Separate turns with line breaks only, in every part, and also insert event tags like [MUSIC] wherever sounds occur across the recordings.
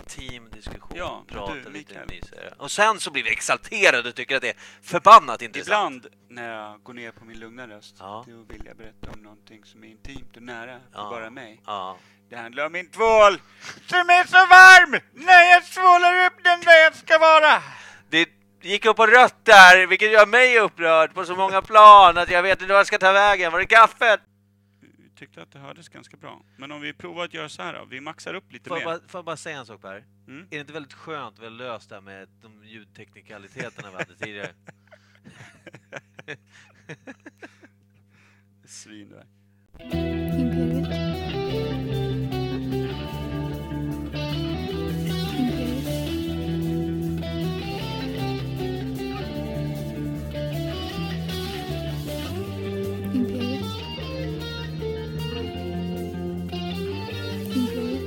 intim diskussion,
Ja,
prata
du,
lite
Mikael.
mysigare. Och sen så blir vi exalterade och tycker att det är förbannat intressant.
Ibland när jag går ner på min lugna röst,
Ja.
då vill jag berätta om någonting som är intimt och nära för
Ja.
bara mig.
Ja.
Det handlar om min tvål, som är så varm när jag svålar upp den där jag ska vara.
Det gick upp på rött där, vilket gör mig upprörd på så många plan att jag vet inte vart jag ska ta vägen. Var är kaffet?
Jag tyckte att det hördes ganska bra. Men om vi provar att göra så här då, vi maxar upp lite
Får jag,
mer.
bara, får jag bara säga en sak Per?
Mm.
Är det inte väldigt skönt, väl löst det här med de ljudteknikaliteterna vi hade tidigare?
Svin där.
Imperiet. Imperiet. Imperiet. Imperiet.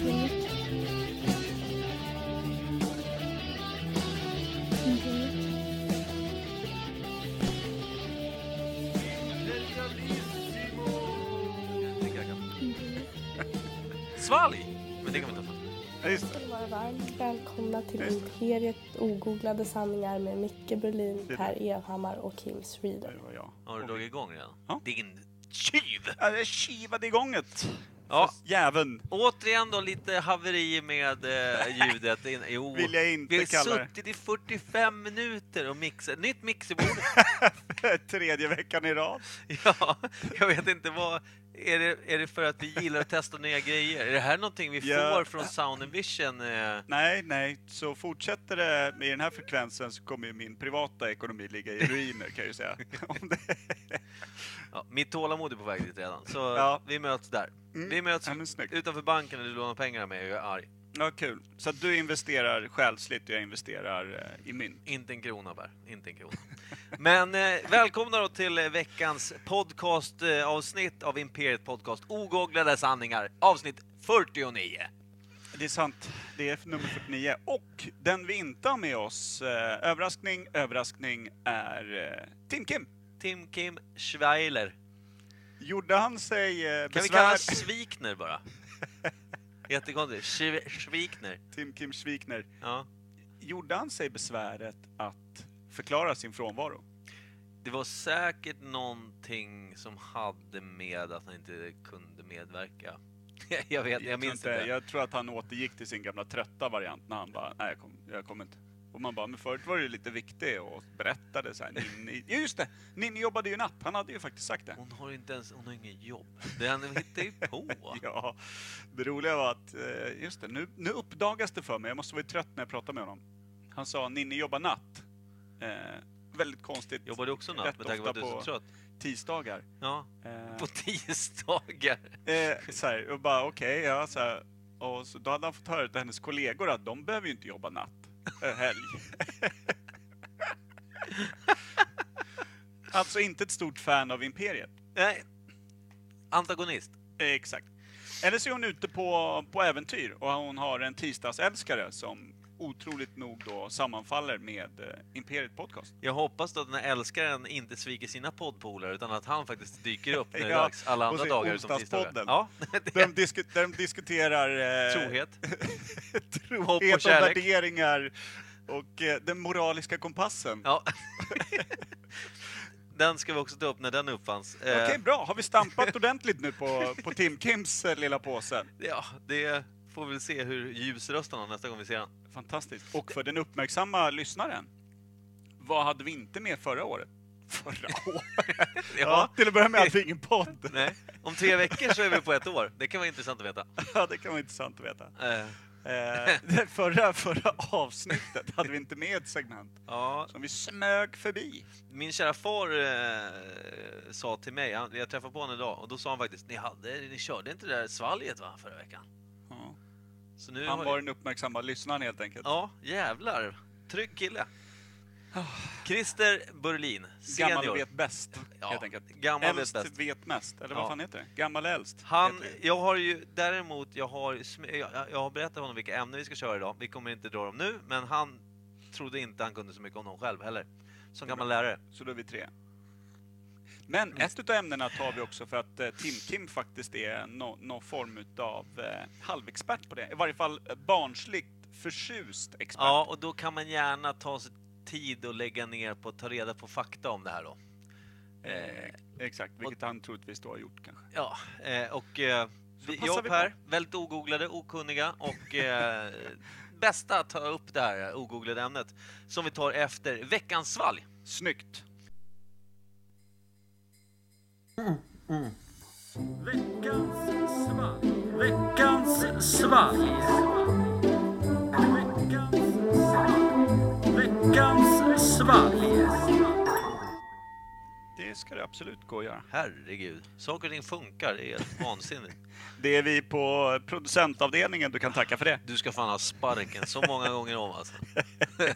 Imperiet. Imperiet.
Jag tycker jag kan-
Imperiet.
Svalg! Men det kan vi inte ta.
Ja, just det.
Ska ni vara varmt välkomna till
Just det.
Imperiet ogooglade sanningar med Micke Berlin,
det.
Per Evhammar och Kim Sweden.
Det var jag.
Har du
Och-
dragit igång redan?
Ja.
Din tjuv!
Ja, jag kivade igång ett.
Ja.
Fast Jäveln.
Återigen då lite haveri med eh, ljudet. In, jo,
[LAUGHS] Vill jag inte
vi har
kalla det.
suttit i 45 minuter och mixat. Nytt mixerbord.
[LAUGHS] Tredje veckan i rad.
[LAUGHS] ja, jag vet inte vad... Är det, är det för att vi gillar att testa nya grejer? Är det här någonting vi
Ja.
får från Sound and Vision? Eh,
Nej, nej, så fortsätter det med den här frekvensen så kommer ju min privata ekonomi ligga i ruiner kan jag ju [LAUGHS] säga. Om det...
Ja, mitt tålamod är på väg dit redan, så
Ja.
vi möts där.
Mm.
Vi möts
Ja, men snyggt.
utanför banken när du lånar pengar av mig och jag är arg.
Ja, kul. Så att du investerar själsligt och jag investerar eh, i mynt.
Inte en krona Per, inte en krona. Men eh, välkomna då till eh, veckans podcastavsnitt eh, avsnitt av Imperiet Podcast Ogooglade sanningar, avsnitt 49.
Det är sant. Det är nummer 49. Och den vi inte har med oss, eh, överraskning, överraskning, är eh, Tim Kim.
Tim Kim Schweiler. Kan
Gjorde han sig eh,
vi kalla
besvär?
honom Svikner bara? Jättekonstigt. Schwe- Schwikner.
Tim Kim Schwikner.
Ja.
Gjorde han sig besväret att förklara sin frånvaro?
Det var säkert någonting som hade med att han inte kunde medverka. [LAUGHS] jag vet, jag
tror
minns inte.
Jag tror att han återgick till sin gamla trötta variant när han bara, nej jag kommer jag kom inte. Och man bara, men förut var du lite viktig och berättade så här. Ni, ni, Ja, just det! Ninni jobbade ju natt, han hade ju faktiskt sagt det.
Hon har inte ens, hon har ingen jobb. Det han hittar ju på.
Ja, det roliga var att, eh, just det, nu, nu uppdagas det för mig, jag måste vara trött när jag pratade med honom. Han sa, Ninni jobbar natt. Eh, väldigt konstigt.
Jobbar du också natt
Rätt
med tanke på att du
ofta
är så
på-
trött?
Tisdagar.
Ja,
Eh,
på tisdagar.
Eh, så här, och bara okej, ja så här. Och så, då hade han fått höra av hennes kollegor att de behöver ju inte jobba natt, eh, helg. [LAUGHS] alltså inte ett stort fan av Imperiet.
Nej. Antagonist.
Eh, exakt. Eller så är hon ute på, på äventyr och hon har en tisdagsälskare som otroligt nog då sammanfaller med eh, Imperiet Podcast.
Jag hoppas då att den här älskaren inte sviker sina poddpolare utan att han faktiskt dyker upp när det är
[LAUGHS] Ja,
dags. Alla
och
andra
så
dagar utom tisdagar.
onsdagspodden.
Ja, [LAUGHS] det
Där
är
de, disku, där de diskuterar eh,
trohet.
trohet
Hopp och
och,
kärlek.
värderingar och eh, den moraliska kompassen.
Ja. Den ska vi också ta upp när den uppfanns.
Okej,
Eh,
bra. Har vi stampat ordentligt nu på, på Tim Kims eh, lilla påse?
Ja, det får vi väl se hur ljusrösten har nästa gång vi ser han.
Fantastiskt. Och för den uppmärksamma lyssnaren. Vad hade vi inte med förra året? [LAUGHS] Förra året? Ja, till att börja med hade vi ingen podd.
Nej. Om tre veckor så är vi på ett år. Det kan vara intressant att veta.
[LAUGHS] Ja, det kan vara intressant att veta.
Eh,
Eh, det förra, förra avsnittet hade vi inte med ett segment
ja,
som vi smög förbi.
min kära far eh, sa till mig, han, jag träffade på honom idag, och då sa han faktiskt ni, hade, ni körde inte det där svalget va, förra veckan?
Ja.
Så nu
Han
har-
var den uppmärksamma lyssnaren helt enkelt.
Ja, jävlar. Trygg kille. Christer Burlin,
Ah. Gammal
senior.
vet bäst,
Ja,
helt enkelt.
gammal vet
äldst
bäst.
vet mest, eller vad
Ja.
fan heter det? Gammal äldst.
Han,
heter det ju.
jag har ju däremot, jag har, sm- jag, jag har berättat för honom vilka ämnen vi ska köra idag. Vi kommer inte dra dem nu, men han trodde inte han kunde så mycket om dem själv heller. Som gammal lärare.
Så då är vi tre. Men ett utav ämnena tar vi också för att eh, Tim Kim faktiskt är nå- någon form utav eh, halvexpert på det. I varje fall eh, barnsligt förtjust expert.
Ja, och då kan man gärna ta sig tid och lägga ner på att ta reda på fakta om det här då.
Eh, exakt, vilket han troligtvis då har gjort kanske.
Ja, eh, och eh, vi,
passar
jag
vi
och
på.
Per, väldigt ogooglade, okunniga och eh, [LAUGHS] bästa att ta upp det här ogooglade ämnet som vi tar efter veckans svalg.
Snyggt! Det ska det absolut gå att göra.
Herregud, saker och ting funkar, det är [LAUGHS] helt vansinnigt.
Det är vi på producentavdelningen du kan tacka för det.
Du ska fan ha sparken så många gånger om [LAUGHS] alltså.
Tänk,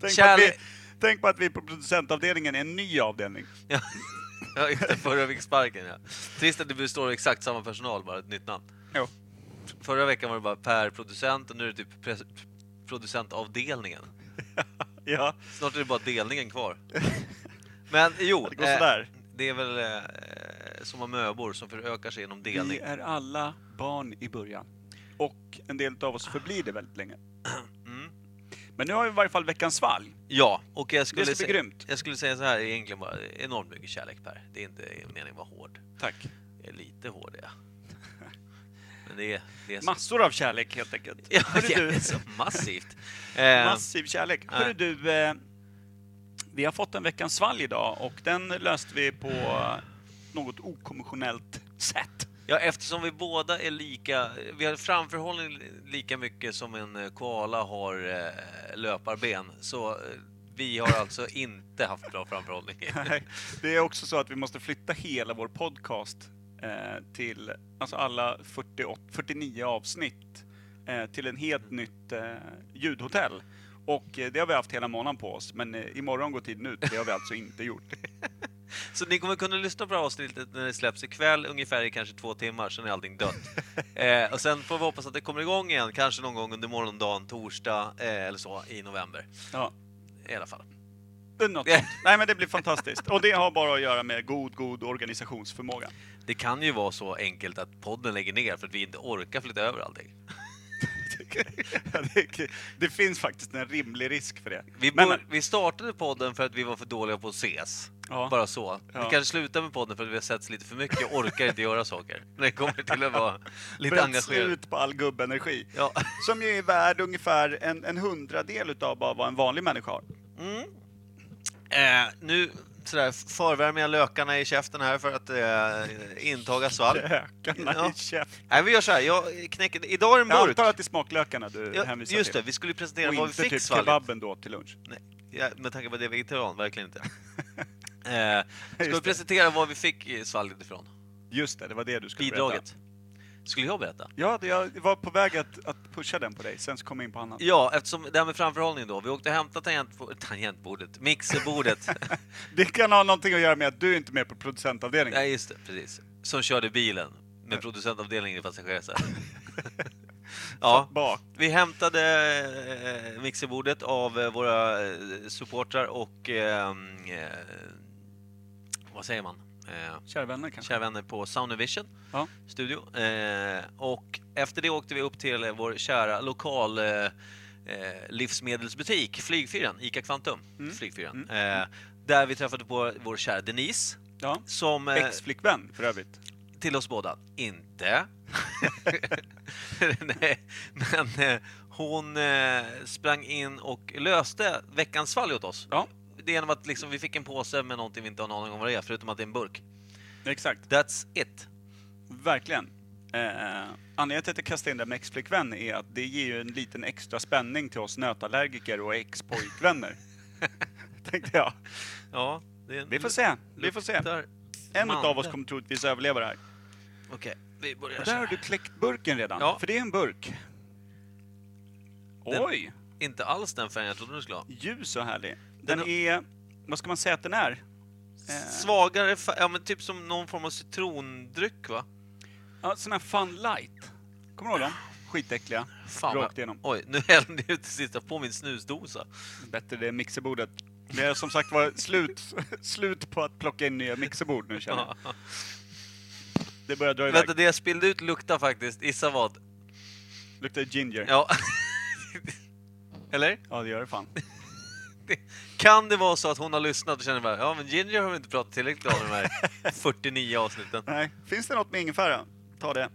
på att, vi,
Kärlek.
tänk på att vi på producentavdelningen är en ny avdelning.
Ja, [LAUGHS] ja, just det, förra fick sparken ja. Trist att det består av exakt samma personal, bara ett nytt namn.
Jo.
Förra veckan var det bara Per producent och nu är det typ pres- producentavdelningen.
Ja,
Snart är det bara delningen
[LAUGHS]
kvar. Men jo,
det går
eh,
sådär.
det är väl eh, som amöbor som förökar sig genom
Vi
delning.
är alla barn i början. Och en del av oss förblir det
[CLEARS THROAT]
väldigt länge.
Mm.
Men nu har vi i varje fall veckans svalg.
Ja, och jag skulle,
Det ska bli
sä-
grymt.
jag skulle säga så här, egentligen bara enormt mycket kärlek Per. Det är inte meningen att vara hård.
Tack.
Jag är lite hård
[LAUGHS]
är jag. Men det är... Det är så-
Massor av kärlek helt enkelt.
[LAUGHS] Ja,
Hörru
det
du.
är så massivt. Eh,
[LAUGHS] Massiv kärlek.
Nej.
Hörru du, eh, vi har fått en veckans svalg idag och den löste vi på eh, något okonventionellt sätt.
Ja, eftersom vi båda är lika, vi har framförhållning lika mycket som en eh, koala har eh, löparben, så eh, vi har alltså [LAUGHS] inte haft bra framförhållning.
[LAUGHS] Nej, det är också så att vi måste flytta hela vår podcast eh, till, alltså alla 48, 49 avsnitt, eh, till en helt nytt eh, ljudhotell. Och eh, det har vi haft hela månaden på oss, men eh, imorgon går tiden ut. Det har vi alltså inte gjort.
Så ni kommer kunna lyssna på det här avsnittet när det släpps ikväll, ungefär i kanske två timmar, sen är allting
[LAUGHS]
dött. Eh, och sen får vi hoppas att det kommer igång igen, kanske någon gång under morgondagen, torsdag eh, eller så, i november.
Ja.
I alla fall.
Det är Något sånt. Nej men det blir fantastiskt. Och det har bara att göra med god, god organisationsförmåga.
Det kan ju vara så enkelt att podden lägger ner för att vi inte orkar flytta över allting.
Ja, det, det finns faktiskt en rimlig risk för det.
Vi,
Men-
bör, vi startade podden för att vi var för dåliga på att ses.
Ja.
Bara så.
Ja.
Vi kanske slutar med podden för att vi har setts lite för mycket och orkar inte göra
[LAUGHS]
saker. När det kommer till att vara lite
Bränns
engagerad.
ut på all gubbenergi.
Ja.
[LAUGHS] Som ju är värd ungefär en, en hundradel utav bara vad en vanlig människa har.
Eh, nu sådär, förvärmer jag lökarna i käften här för att eh, intaga svalg.
[LAUGHS] Lökarna
Ja.
i käften.
Nej, vi gör så här. Jag knäcker... Idag är det en
Jag
burk.
antar att det är smaklökarna du
Ja,
hänvisar
just det,
till.
vi skulle ju presentera
Och
vad vi
inte
fick
typ
svalget.
kebaben då till lunch.
Nej, ja, med tanke på att jag är vegetarian, verkligen
[LAUGHS]
inte. Eh, ska vi
det.
presentera var vi fick eh, svalget ifrån?
Just det, det var det du skulle berätta.
Bidraget. Skulle jag berätta?
Ja, det, jag var på väg att, att pusha den på dig, sen så kom jag in på annat.
Ja, eftersom det här med framförhållning då. Vi åkte och hämtade tangentbordet, tangentbordet mixerbordet.
[LAUGHS] Det kan ha någonting att göra med att du inte är med på producentavdelningen.
Nej, just det, precis. Som körde bilen med producentavdelningen i passagerarsätet. [LAUGHS] ja,
Bak.
vi hämtade eh, mixerbordet av eh, våra eh, supportrar och eh, eh, vad säger man? Eh,
Kära vänner kanske.
kära vänner på Sound and Vision
Ja.
studio. Eh, och efter det åkte vi upp till eh, vår kära lokal eh, eh, livsmedelsbutik, Flygfyren, ICA Kvantum, Flygfyren. Eh, där vi träffade på vår kära Denise,
Ja.
som eh,
Ex-flickvän för övrigt.
till oss båda, inte. [LAUGHS] Nej, men eh, hon eh, sprang in och löste veckans fall åt oss.
Ja,
Det är genom att liksom, vi fick en påse med någonting vi inte har någon aning om vad det är, förutom att det är en burk.
exakt.
That's it.
Verkligen. Eh, anledningen till att jag kastade in det här med ex-flickvän är att det ger ju en liten extra spänning till oss nötallergiker
[LAUGHS]
och ex-pojkvänner. Tänkte jag.
Ja, det är en
Vi får se. Vi får se.
luktar
En
mandel.
av oss kommer troligtvis överleva det här.
Okej, vi börjar
Och där
så här.
har du kläckt burken redan.
Ja.
För det är en burk.
Den-
Oj!
Inte alls den färgen jag trodde du skulle ha.
Ljus och härlig.
Den
Den är... Vad ska man säga att den är? Eh,
Svagare färg, ja men typ som någon form av citrondryck va?
ja, sån här Fun Light. Kommer du ihåg dem? Skitäckliga.
Fan
Rakt
vad-
igenom.
[LAUGHS] Oj, nu hällde jag ut det sista på min snusdosa.
Bättre det mixerbordet. Det är som sagt var slut, [LAUGHS] slut på att plocka in nya mixerbord nu känner jag. Det börjar dra iväg.
Vänta, det jag spillde ut luktar faktiskt, gissa vad?
Luktar ginger. Ja.
Ja. [LAUGHS] Eller?
det gör det fan.
Kan det vara så att hon har lyssnat och känner bara, ja men Ginger har vi inte pratat tillräckligt om i de
[LAUGHS]
här 49 avsnitten.
Nej. Finns det något med ingefära? Ta det.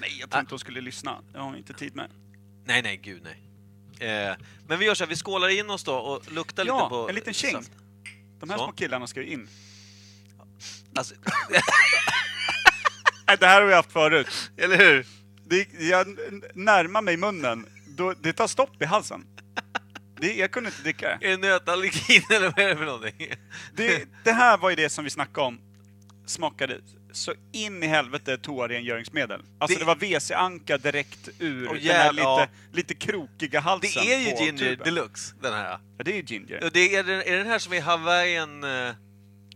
Nej, jag
Äh.
tror inte hon skulle lyssna. Det har hon inte tid med.
Nej, nej, gud nej. Eh, men vi gör så här, vi skålar in oss då och luktar
Ja,
lite på...
en liten tjing.
saft.
De här
Så.
små killarna ska ju in.
Alltså, [LAUGHS]
Nej, det här har vi haft förut.
eller hur?
Det, jag n- närmar mig munnen, då, det tar stopp i halsen. Det, jag kunde inte dricka det.
Är det nötallergin eller vad är det för någonting?
det. Det här var ju det som vi snackade om. Smakade så in i helvete toarengöringsmedel. Alltså
Det-
det, var WC-anka direkt ur
Åh,
den här
jävlar,
lite,
ja.
lite krokiga halsen
Det är ju
på
Ginger
tuben.
deluxe, den här.
Ja, det är ju ginger.
Och Det är, den, är den här som är Hawaiian... eh,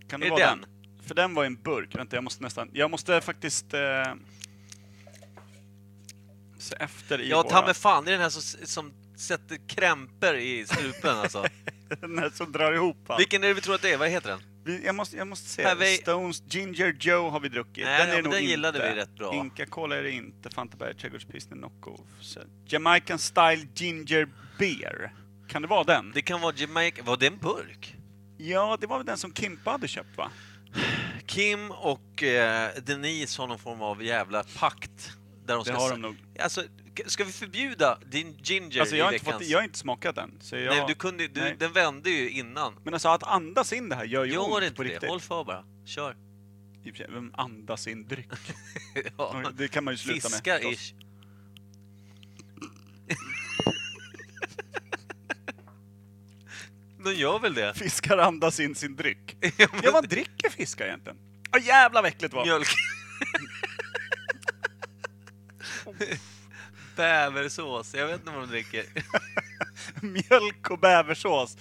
Kan
är
det vara den?
den?
För den var i en burk. Vänta, jag måste nästan... Jag måste faktiskt... Eh, se efter i
Ja,
våra-
ta mig fan, det är den här som, som sätter krämpor i strupen
[LAUGHS]
alltså.
[LAUGHS] Den här som drar ihop allt.
Vilken är det vi tror att det är? Vad heter den?
Vi, jag, måste, jag måste säga,
Här, vi-
Stones Ginger Joe har vi druckit.
Nej,
den är
ja,
det
men
nog
den
inte.
gillade vi rätt bra.
Inka Kola är det inte, Fantaberg Trädgårdspilsner Knockoff. Så, Jamaican Style Ginger Beer. Kan det vara den?
Det kan vara Jamaica... Var det en burk?
Ja, det var väl den som Kimpa hade köpt va?
Kim och eh, Denise har någon form av jävla pakt. Där de
Det
ska
har
s-
de nog.
Alltså, k- ska vi förbjuda din ginger
Alltså
i
jag har, inte
veckans...
fått, jag har inte smakat den. Så jag...
Nej, du kunde, du,
Nej.
den vände ju innan.
Men alltså att andas in det här gör ju
Gör
ont
inte
på
det,
riktigt.
håll för bara. Kör. [LAUGHS]
I och för sig, Vem andas in dryck?
Ja.
Det kan man ju sluta med. förstås. [LAUGHS]
Fiskar-ish. De gör väl det?
Fiskar andas in sin dryck.
[LAUGHS] Ja,
[LAUGHS] Ja, vad dricker fiskar egentligen? Ja, jävla vad äckligt det var! [LAUGHS]
Mjölk. Bäversås, jag vet inte vad de dricker.
[LAUGHS] mjölk och bäversås.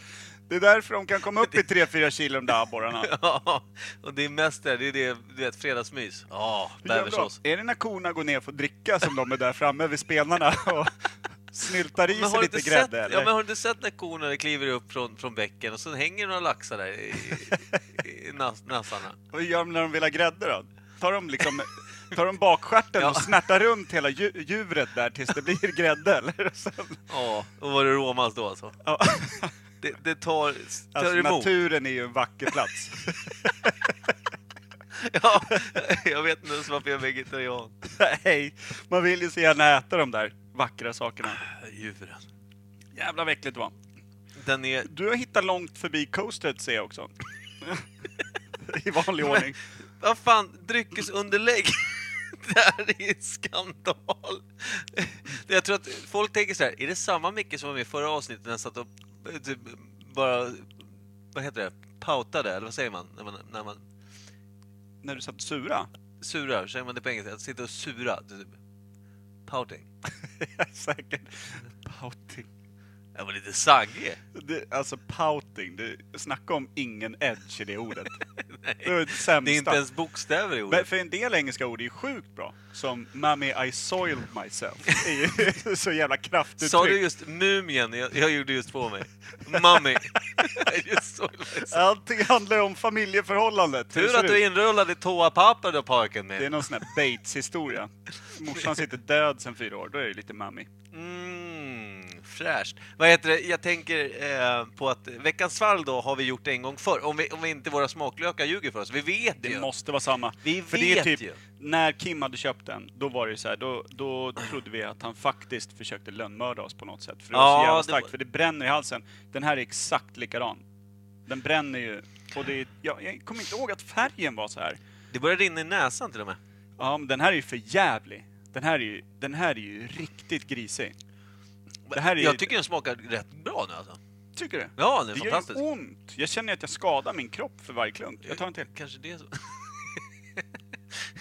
Det är därför de kan komma upp i 3-4 kilo de där abborrarna.
[LAUGHS] Ja, och det är mest det, det är det, du vet, fredagsmys. Ja, bäversås.
Är det när korna går ner för att dricka som de är där framme vid spenarna
[LAUGHS]
och snyltar i
Men
sig
har, du
lite
inte
grädde?
sett,
eller?
ja, men har du inte sett när korna kliver upp från, från bäcken och sen hänger några laxar där i, i, i nas, nassarna?
Vad gör de när de vill ha grädde då? Tar de, liksom, tar de bakstjärten
Ja.
och snärtar runt hela dju- djuret där tills det blir grädde? Eller? [LAUGHS] Och sen-
Ja, och var det råmas då alltså?
ja.
Det, det tar, tar
Alltså,
emot.
naturen är ju en vacker plats.
[LAUGHS] Ja, jag vet inte ens varför jag är vegetarian.
Nej, man vill ju så gärna äta de där vackra sakerna.
Djuren.
Jävla vad äckligt det var.
Den är...
Du har hittat långt förbi coastet ser jag också. [LAUGHS] I vanlig ordning.
Vad fan, dryckesunderlägg! [LAUGHS] Det här är en skandal! Det- Jag tror att folk tänker så här, är det samma Micke som var med i förra avsnittet när han satt och eh, typ bara, vad heter det, pautade, eller vad säger man? När man, när man
När du
[LAUGHS]
satt sura.
surar, säger man det på engelska? Att sitta och sura, typ. Pouting.
Säkert. Pouting.
Jag var lite saggig.
Det, alltså pouting, det, snacka om ingen edge i
[LAUGHS]
det ordet. det var det sämsta.
Det är inte ens bokstäver i
Men
ordet.
för en del engelska ord är ju sjukt bra. Som “Mommy I soiled
[LAUGHS]
myself” är ju [LAUGHS] så jävla kraftigt
Sa du
tryck.
just mumien? Jag, jag gjorde just på mig.
[LAUGHS]
Mummy. just så.
Allting handlar om familjeförhållandet. Hur
Tur
ser
att
det
du
ut?
är inrullad i toapapper då pojken
Det är
min.
någon sån här Bates-historia. Morsan sitter död sedan fyra år, då är det lite mommy.
Mm, fräscht. Vad heter det? Jag tänker eh, på att veckans fall då har vi gjort en gång förr. Om, vi, om vi inte våra smaklökar ljuger för oss. Vi vet
Det
ju.
måste vara samma.
Vi
För det är
vet
typ,
ju.
när Kim hade köpt den, då var det ju så här, då, då trodde vi att han faktiskt försökte lönnmörda oss på något sätt. För det
Ja,
var så jävla
det
starkt,
var-
för det bränner i halsen. Den här är exakt likadan. Den bränner ju, och det är, ja, jag kommer inte ihåg att färgen var så här.
Det börjar rinna i näsan till och med.
Ja, men den här är ju för jävlig. Den här är ju, den här är ju riktigt grisig. Det här är ju-
Jag tycker den smakar rätt bra nu alltså.
Tycker du?
Ja, den är
det
fantastisk.
gör ju ont. Jag känner att jag skadar min kropp för varje klunk. Jag tar en till.
Kanske det är så. [LAUGHS]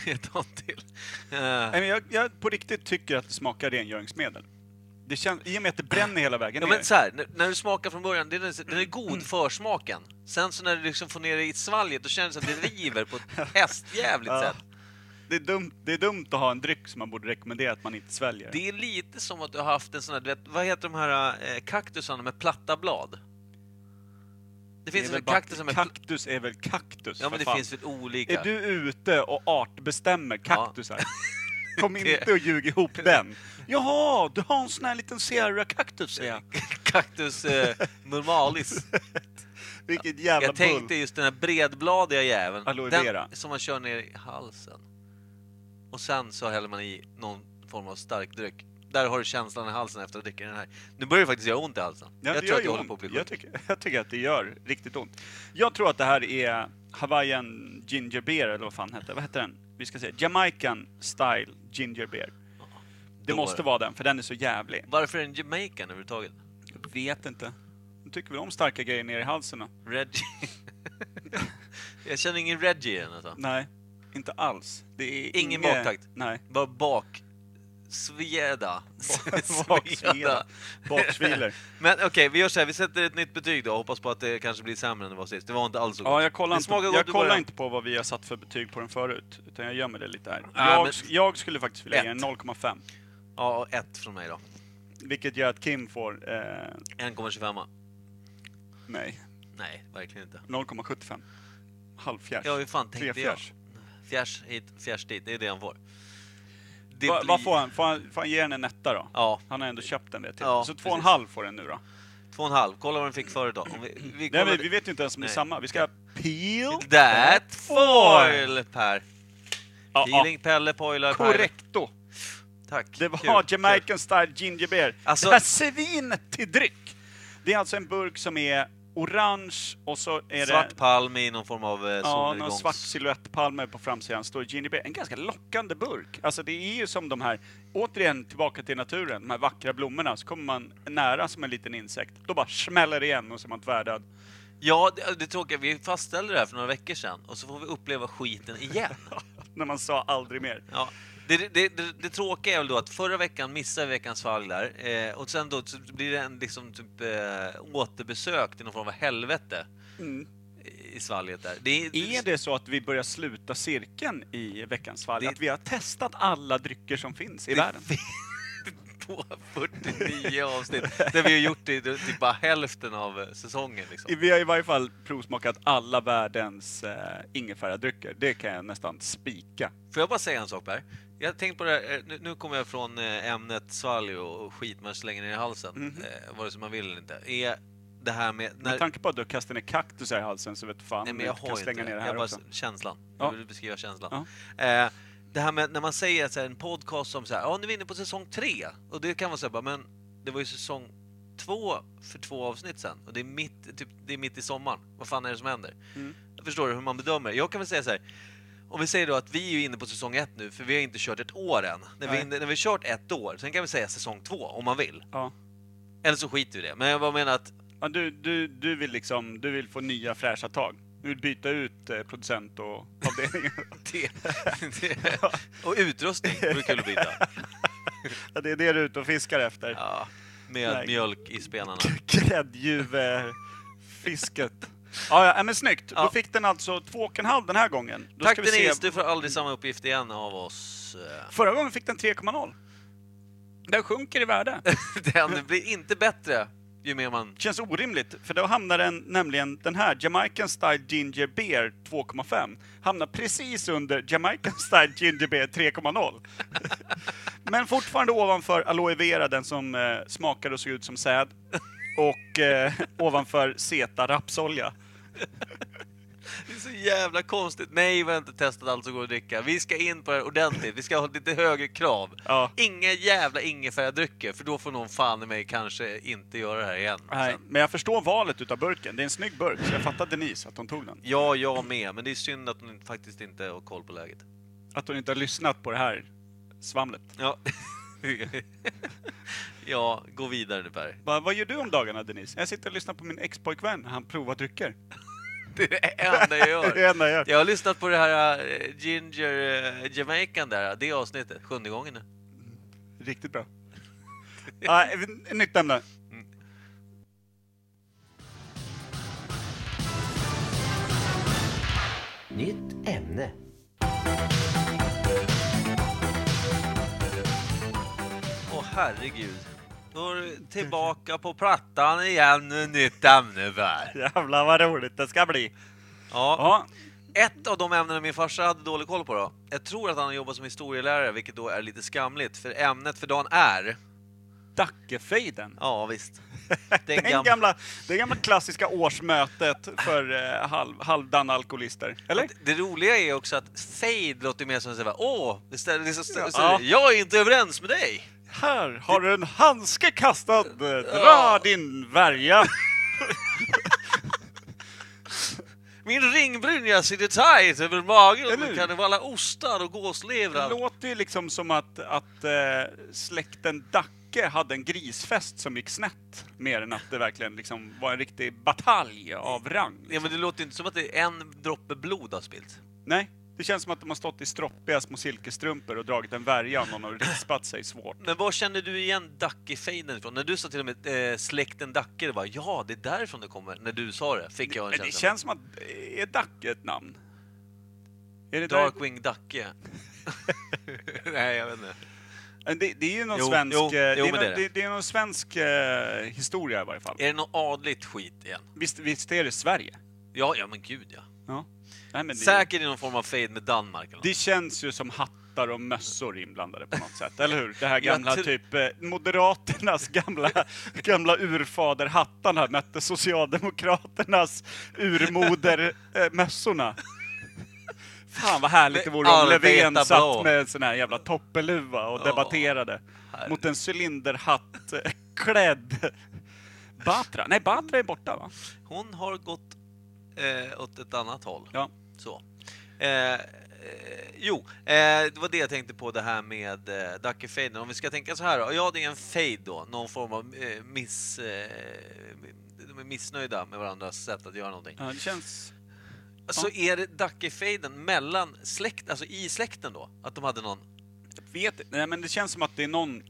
jag tar en till. Eh,
Nej, men jag, jag på riktigt tycker att det smakar rengöringsmedel. Det känns, I och med att det bränner hela vägen
Ja,
ner.
men så här, när, när du smakar från början, den är, den är
Mm.
god försmaken. Sen så när du liksom får ner det i svalget, då känns det att det river på ett
[LAUGHS]
hästjävligt
Ja.
sätt.
det, är dumt, det är dumt att ha en dryck som man borde rekommendera att man inte sväljer.
Det är lite som att du har haft en sån här, du vet, vad heter de här eh, kaktusarna med platta blad? Det
Det
finns
är väl
väl
bara-
kaktus som är...
Kaktus är väl kaktus?
Ja,
för
men det
fan.
finns väl olika.
Är du ute och artbestämmer
[LAUGHS]
kaktusar? Kom
Det-
inte och ljug ihop
[LAUGHS]
den. Jaha, du har en sån här liten Sierra-kaktus, säger jag.
[LAUGHS] Kaktus eh,
[LAUGHS]
normalis.
Vilket jävla
Jag tänkte
bull.
just den här bredbladiga jäveln.
Aloe vera.
Den som man kör ner i halsen. Och sen så häller man i någon form av stark dryck. Där har du känslan i halsen efter att dricka den här. Nu börjar det faktiskt göra ont i halsen.
Ja, det
jag tror
gör
att
ju
jag håller
ont.
på att bli sjuk.
jag tycker, [LAUGHS] jag tycker att det gör riktigt ont. Jag tror att det här är Hawaiian Ginger Beer, eller vad fan heter Vad heter den? Vi ska säga Jamaican Style Ginger Beer. Det
då var
måste
det.
vara den, för den är så jävlig.
Varför är den Jamaican överhuvudtaget?
Jag vet inte. De tycker väl om starka grejer ner i halsen då?
Reggie? [LAUGHS] jag känner ingen Reggie i den alltså.
Nej, inte alls. Det är
Ingen
inge-
baktakt.
Nej.
[LAUGHS]
[LAUGHS]
Bara bak... Sveda.
Baksveda. Baksviler.
Men okej, vi gör så här. Vi sätter ett nytt betyg då och hoppas på att det kanske blir sämre än det var sist. Det var inte alls så
Ja,
gott.
jag kollar,
Det
inte,
smakar gott
jag
i början.
kollar inte på vad vi har satt för betyg på den förut, utan jag gömmer det lite här.
Ja,
jag,
men-
jag skulle faktiskt vilja ge
Ett.
en 0,5,
Ja, och ett från mig då.
vilket gör att Kim får, eh,
1,25.
nej,
Nej, verkligen inte.
0,75. Halvfjärs.
Ja, hur fan tänkte jag?
Trefjärs.
Fjärs hit, fjärs dit. Det är det han får. Det
Va,
blir-
Vad får han? Får han, får han ge den en etta då?
Ja,
Han har ändå köpt den det till.
Ja,
så två och en
precis.
halv får den nu då.
två och en halv. Kolla vad den fick förut då. Om vi, vi
Nej,
kollar...
men vi vet ju inte ens om det är
Nej.
samma. Vi ska peel
That foil, Per.
Ja, ja.
Peeling, Pelle, Poilar,
Korrekto!
Per. Tack.
Det
Kul,
var
kul.
Jamaican Style Ginger Beer.
Alltså-
det här svinet till dryck! Det är alltså en burk som är orange och så är det
Svart palm i någon form av eh,
ja, någon
solnedgångs...
svart silhuettpalmer på framsidan. står Ginger Beer. En ganska lockande burk. Alltså det är ju som de här, återigen tillbaka till naturen, de här vackra blommorna. Så kommer man nära som en liten insekt. Då bara smäller det igen och så är man tvärdöd.
Ja, det, det tråkiga, vi fastställde det här för några veckor sedan och så får vi uppleva skiten
[LAUGHS]
igen.
När man sa aldrig mer.
Ja. Det, det, det, det tråkiga är väl då att förra veckan missade vi veckans fall där eh, och sen då så blir det en liksom typ eh, återbesök till någon form av helvete i svalget där. Det är,
Mm. Är det så att vi börjar sluta cirkeln i veckans fall?
Det-
Att vi har testat alla drycker som finns i
det [LAUGHS]
världen?
finns på 49 avsnitt där vi har gjort det i typ bara hälften av eh, säsongen. Liksom.
Vi har i varje fall provsmakat alla världens eh, ingefäradrycker. Det kan jag nästan spika.
Får jag bara säga en sak Per? Jag tänkte på det här, eh, nu, nu kommer jag från eh, ämnet svalg och och skit man slänger ner i halsen, eh, vare sig man vill eller inte. Är det här med...
Med tanke på att du kastar ner kaktusar i halsen så vet fan
Nej,
om
men
du
jag
inte kan
har inte
slänga
det.
ner det
jag
här
bara,
också.
Känslan.
Ja.
Jag vill beskriva känslan. Eh, det här med när man säger att så här, en podcast som så här, ja nu är vi inne på säsong tre. Och det kan vara så här, bara, men det var ju säsong två för två avsnitt sen. Och det är mitt, typ, det är mitt i sommaren. Vad fan är det som händer?
Mm.
Jag förstår hur man bedömer. Jag kan väl säga så här. Om vi säger då att vi är ju inne på säsong ett nu, för vi har inte kört ett år än. När vi,
Nej.
är inne- när vi har kört ett år, sen kan vi säga säsong två om man vill.
Ja.
Eller så skiter vi i det. Men jag bara menar att
Ja, du, du, du, vill liksom, du vill få nya fräscha tag. Du vill byta ut eh, producent och
[LAUGHS]
avdelningen.
det...
[LAUGHS]
det och utrustning vore kul att byta.
ja, det är det du är ute och fiskar efter.
Ja, med
Nej.
mjölk i spenarna.
Gräddjuvfisket. Ja, ja, men snyggt.
Ja.
Då fick den alltså två och en halv den här gången. Då
Tack
ska vi
Denise,
se-
du får aldrig samma uppgift igen av [LAUGHS] oss. Eh,
Förra gången fick den 3,0. Den sjunker i värde.
Den blir inte bättre ju mer man...
känns orimligt, för då hamnar den nämligen den här, Jamaican Style Ginger Beer 2,5, hamnar precis under Jamaican Style Ginger Beer 3,0. [LAUGHS] Men fortfarande ovanför Aloe Vera, den som eh, smakade och såg ut som säd, och eh, ovanför Zeta rapsolja.
Det är så jävla konstigt. Nej, vi har inte testat allt som går att dricka. Vi ska in på det här ordentligt. Vi ska ha lite högre krav.
Ja.
Inga jävla ingefäradrycker, för då får någon fan i mig kanske inte göra det här igen.
Nej,
Sen.
men jag förstår valet utav burken. Det är en snygg burk, så jag fattar Denise att hon tog den.
Ja, jag med, men det är synd att hon faktiskt inte har koll på läget.
Att hon inte har lyssnat på det här svamlet.
Ja, [LAUGHS] ja gå vidare nu Per.
Va, vad gör du om dagarna Denise? Jag sitter och lyssnar på min expojkvän när han provar drycker.
Det är det enda jag
Det
[LAUGHS] gör.
är [LAUGHS] det enda jag gör.
Jag har lyssnat på det här eh, Ginger eh, Jamaican där, det avsnittet, sjunde gången nu.
Riktigt [LAUGHS] bra. Ja, ett nytt ämne.
Nytt ämne.
Åh herregud. Då är det tillbaka på plattan igen, nytt ämne där.
Jävlar vad roligt det ska bli.
Ja.
Ja,
Ett av de ämnena min farsa hade dålig koll på då. Jag tror att han har jobbat som historielärare, vilket då är lite skamligt, för ämnet för dagen är...
Dackefejden.
Ja, visst. [LAUGHS] Den
Den
gam-
gamla, det gamla klassiska årsmötet för eh, halv, halvdana alkoholister. Eller?
Det- Det roliga är också att fade låter mer som såhär, åh, istället, det är så, så,
Ja.
jag är inte överens med dig!
Här har du en handske kastad. Dra din värja.
Min ringbrynja sitter tight över magen
Eller hur?
med karnevala ostar och gåslevrar.
Det låter ju liksom som att, att eh, släkten Dacke hade en grisfest som gick snett. Mer än att det verkligen liksom var en riktig batalj av rang.
Ja, men det låter inte som att det är en droppe blod har spillt.
Nej, det känns som att de har stått i stroppiga små silkesstrumpor och dragit en värja om någon har rispat sig svårt.
Men var känner du igen Dacke-fejden ifrån? När du sa till och med eh, släkten Dacke, det var ja, det är därifrån det kommer. När du sa det fick jag en
Men det
känsla.
känns som att... Är Dacke ett namn? Är det, där?
Darkwing Dacke. [LAUGHS] Nej, jag vet inte.
Men det, det är ju någon
Jo,
svensk...
jo,
eh,
jo,
det, är
men
någon,
det är
det.
det.
Det, är någon svensk eh, historia i varje fall.
Är det något adligt skit igen?
Visst, visst är det Sverige?
Ja, ja men gud ja.
Ja. Nej, men det,
Säkert i någon form av fade med Danmark eller något.
det känns ju som hattar och mössor inblandade på något sätt, eller hur? Det här gamla
tror-
typ eh,
[LAUGHS]
Moderaternas gamla, gamla urfaderhattarna mötte Socialdemokraternas urmoder eh, mössorna. Fan vad härligt det vore om
Arbeta
Löfven
bra.
satt med en sån här jävla toppeluva och
Ja.
debatterade mot en cylinderhatt eh, klädd Batra. Nej, Batra är borta va?
Hon har gått eh, åt ett annat håll.
Ja.
Så. Eh, eh, jo, eh, det var det jag tänkte på det här med eh, Dacke-faden. Om vi ska tänka så här då. Ja, det är en fade då. Någon form av eh, miss... Eh, de är missnöjda med varandras sätt att göra någonting.
Ja, det känns...
Så är det Dacke-faden mellan släkt, alltså i släkten då? Att de hade någon...
vet Nej, men det känns som att det är någon...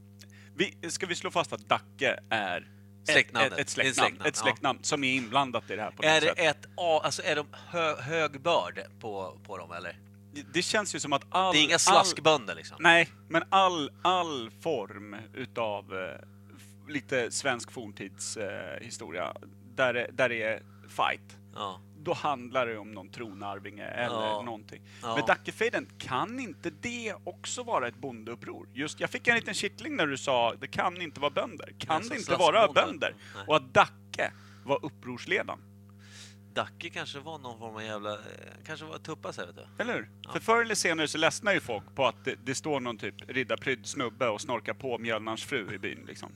Vi, ska vi slå fast att Dacke är ett-
Släktnamnet.
ett, ett
Det är ett
släktnamn,
släktnamn,
ett släktnamn som är inblandat i det här på något
Är det
sätt.
ett A, alltså är de hö, hög börd på, på dem eller?
Det känns ju som att all...
Det är inga
All,
slaskbönder liksom?
nej, men all, all form utav eh, f- lite svensk forntidshistoria, eh, historia, där, det- där det är fight,
Ja.
då handlar det om någon tronarvinge eller
Ja.
någonting.
Ja.
Men Dackefejden, kan inte det också vara ett bondeuppror? Just, jag fick en liten kittling när du sa det kan inte vara bönder. Kan
Nej, så
det inte
slaskbönder.
vara bönder?
Nej.
Och att Dacke var upprorsledaren.
Dacke kanske var någon form av jävla... eh, Kanske var Tuppas här, vet du.
Eller hur? För förr eller senare så ledsnar ju folk på att det, det står någon typ riddarprydd snubbe och snorkar på mjölnarns fru i byn liksom.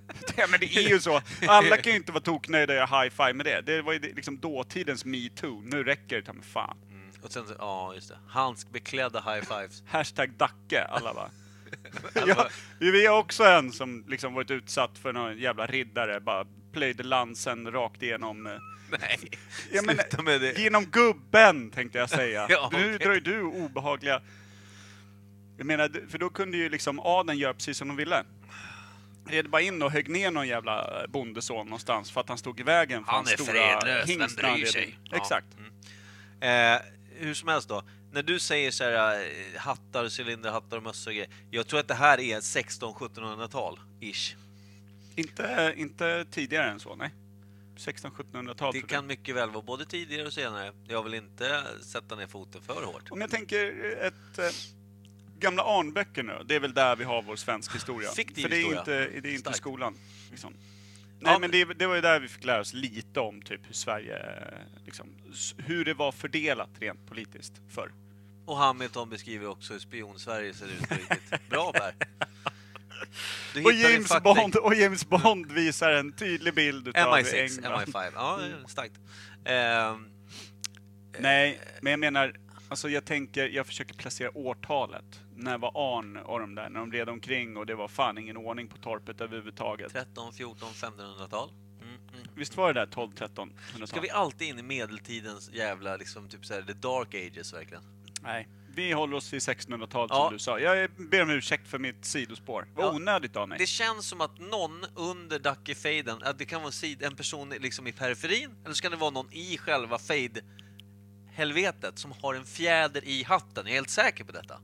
[LAUGHS] Ja, men det är ju så. Alla kan ju inte vara toknöjda och göra high-five med det. Det var ju det- liksom dåtidens metoo. Nu räcker det ta mig fan.
Och sen så, ja just det, handskbeklädda high fives. Alltså,
Hashtag Dacke, alla bara. [LAUGHS] ja, vi är också en som liksom varit utsatt för någon jävla riddare, bara plöjde lansen rakt igenom. eh,
Nej,
[LAUGHS] Ja, men,
sluta med det.
Genom gubben, tänkte jag [LAUGHS] säga.
Ja,
Nu
okej.
drar ju du obehagliga... Jag menar, d- för då kunde ju liksom adeln göra precis som de ville. Red bara in och högg ner någon jävla eh, bondeson någonstans för att han stod i vägen för
Han
hans
är
stora
fredlös, vem
hingst när han
bryr
red
sig?
in.
Ja. Mm.
Exakt.
Eh, hur som helst då, när du säger så här eh, hattar, cylinderhattar och mössor och grejer. Jag tror att det här är 16-1700-tal, ish.
Inte, inte tidigare än så, nej. 1600-1700-tal.
Det
tror jag.
kan mycket väl vara både tidigare och senare. Jag vill inte sätta ner foten för hårt.
Om jag tänker ett... eh, Gamla Arnböcker nu, det är väl där vi har vår svensk historia.
Fiktiv
För det är
historia.
inte, det är inte
Starkt.
skolan. Liksom. Nej,
Ja,
men det, det var ju där vi fick lära oss lite om typ hur Sverige, eh, liksom, s- hur det var fördelat rent politiskt förr.
Och Hamilton beskriver också hur spion-Sverige ser ut på
[LAUGHS]
riktigt. Bra Per! Du
Och
hittar din
James,
fakta-
Bond, och James Bond visar en tydlig bild utav
MI6,
England.
MI5. Ja, starkt. Ehm,
Nej, men jag menar, alltså jag tänker, jag försöker placera årtalet. När var Arn och de där, när de red omkring och det var fan ingen ordning på torpet överhuvudtaget.
13, 14, 1500-tal. Mm, mm.
Visst var det där 12, 13, 100
Ska vi alltid in i medeltidens jävla, liksom, typ såhär, the dark ages verkligen?
Nej. Vi håller oss till 1600-talet
Ja.
som du sa. Jag ber om ursäkt för mitt sidospår. Vad
Ja.
onödigt av mig.
Det känns som att någon under Dackefejden, att det kan vara en sid- en person liksom i periferin, eller så kan det vara någon i själva fade-helvetet som har en fjäder i hatten. Jag är helt säker på detta.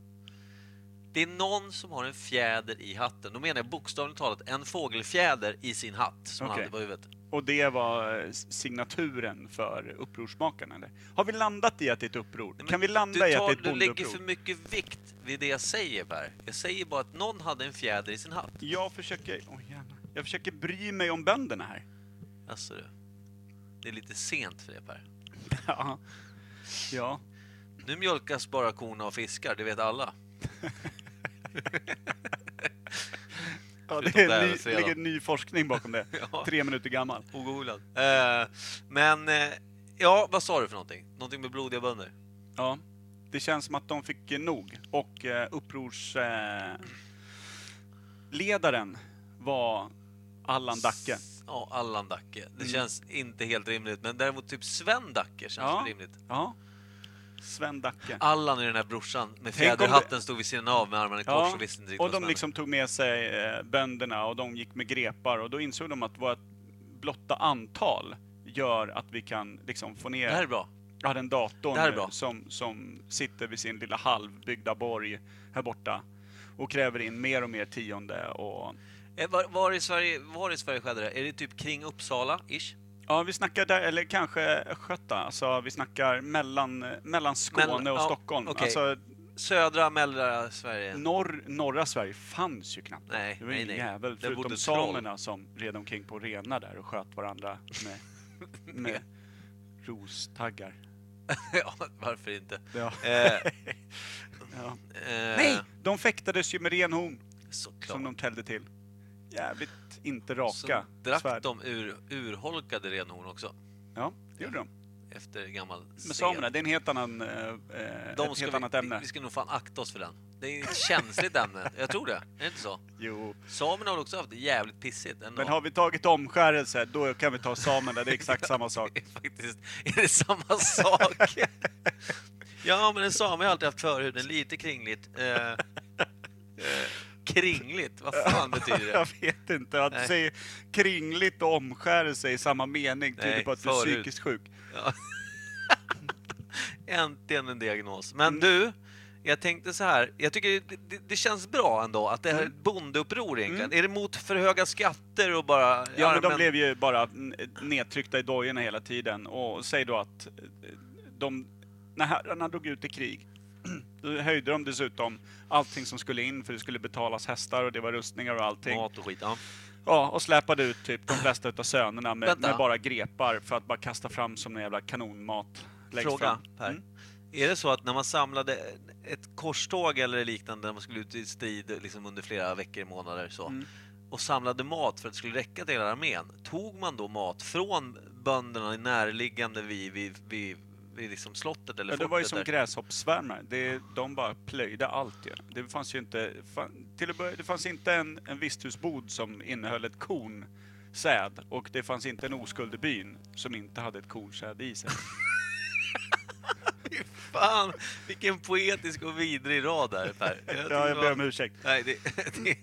Det är någon som har en fjäder i hatten. Då menar jag bokstavligt talat en fågelfjäder i sin hatt som han
Okej.
hade på huvudet.
Och det var eh, signaturen för upprorsmakarna eller? Har vi landat i att det är ett uppror?
Nej, men
kan vi
Du,
landa i att det är
tar,
ett
du lägger för
bondeuppror?
mycket vikt vid det jag säger Per. Jag säger bara att någon hade en fjäder i sin hatt.
Jag försöker... Åh jävlar. jag försöker bry mig om
[LAUGHS]
bönderna här.
Alltså du. Det är lite sent för det Per.
Ja. ja.
Nu mjölkas bara korna och fiskar, det vet alla.
ja
Förutom
det
det
är
här
ny,
med fredag.
ligger ny forskning bakom det.
[LAUGHS] Ja.
Tre minuter gammal.
Ogooglad. Eh, men, eh, ja, vad sa du för någonting? Någonting med blodiga bönder?
Ja. Det känns som att de fick eh, nog och eh, upprors... Eh, ledaren var Allan Dacke. Mm.
Ja, Allan Dacke. Det känns inte helt rimligt, men däremot typ Sven Dacke känns
Ja.
det rimligt.
Ja. Sven Dacke.
Allan är den här brorsan med
Tänk om
fjäderhatten stod vid sidan av med armarna i kors
Ja,
och visste inte riktigt
och
vad som
de
hände.
liksom tog med sig eh, bönderna och de gick med grepar och då insåg de att vårt blotta antal gör att vi kan liksom få
Det här är
ner
bra.
ja, den datorn
det här är
eh,
bra.
Som, som sitter vid sin lilla halvbyggda borg här borta och kräver in mer och mer tionde och
Eh, Var, var, i Sverige, var i Sverige skedde det? Är det typ kring Uppsala-ish?
Ja, vi snackar där, eller kanske Östgöta, alltså vi snackar mellan, mellan Skåne
Mellan-
och
ja,
Stockholm.
okej.
Alltså
Södra, mellersta Sverige?
norr, norra Sverige fanns ju knappt.
Nej,
Det var
nej,
ingen
nej.
jävel,
Där
förutom
bodde troll.
samerna som red omkring på renar där och sköt varandra
[LAUGHS]
med, med rostaggar.
[LAUGHS] ja, varför inte?
Ja.
Eh,
Ja.
eh,
[LAUGHS] Nej! De fäktades ju med renhorn
Såklart.
som de täljde till. Jävligt inte raka
Så drack
svärd.
de ur, urholkade renhorn också,
Ja, det gjorde de.
efter gammal sed.
Med samerna, det är en helt annan, eh, eh, ett helt
vi,
annat ämne.
Vi, vi ska nog fan akta oss för den. Det är ett känsligt ämne, jag tror det. Är det inte så?
Jo.
Samerna har också haft det jävligt pissigt ändå. [LAUGHS]
Men har vi tagit omskärelse, då kan vi ta samerna, det är exakt
[LAUGHS]
samma sak.
Faktiskt, är det samma sak? ja, men en same har alltid haft förhuden lite kringligt. Eh, eh, kringligt, vad fan betyder det?
Jag vet inte, att du
Nej.
säger kringligt och omskärelse i samma mening tyder
Nej,
på att du är
förut.
psykiskt sjuk.
Äntligen en diagnos.
Mm.
Men du, jag tänkte så här. Jag tycker det, det, det känns bra ändå att det här är
Mm.
ett bondeuppror egentligen. Är det mot för höga skatter och bara...
Ja, men de
allmän-
blev ju bara n- nedtryckta i dojorna hela tiden. Och säg då att eh, de, när herrarna drog ut i krig, [CLEARS THROAT] då höjde de dessutom allting som skulle in, för det skulle betalas hästar och det var rustningar och allting.
Mat och skit, ja.
Ja, och släpade ut typ de flesta utav sönerna med,
Vänta.
med bara grepar för att bara kasta fram som en jävla kanonmat. längst
Fråga,
fram.
Per.
Mm.
Är det så att när man samlade ett korståg eller liknande, när man skulle ut i strid liksom under flera veckor, månader så,
Mm.
och samlade mat för att det skulle räcka till hela armén, tog man då mat från bönderna i närliggande vid, vid, vid, vid liksom slottet eller
Ja, det var ju som
där?
gräshoppssvärmar. Det, de bara plöjde allt ju. Det fanns ju inte, fan, till att börja, det fanns inte en, en visthusbod som innehöll ett korn säd och det fanns inte en oskuld i byn som inte hade ett kornsäd i sig.
Fan, vilken poetisk och vidrig rad där Per. Jag tycker
Ja,
det
jag
var-
ber om ursäkt.
Nej, det, [LAUGHS] det,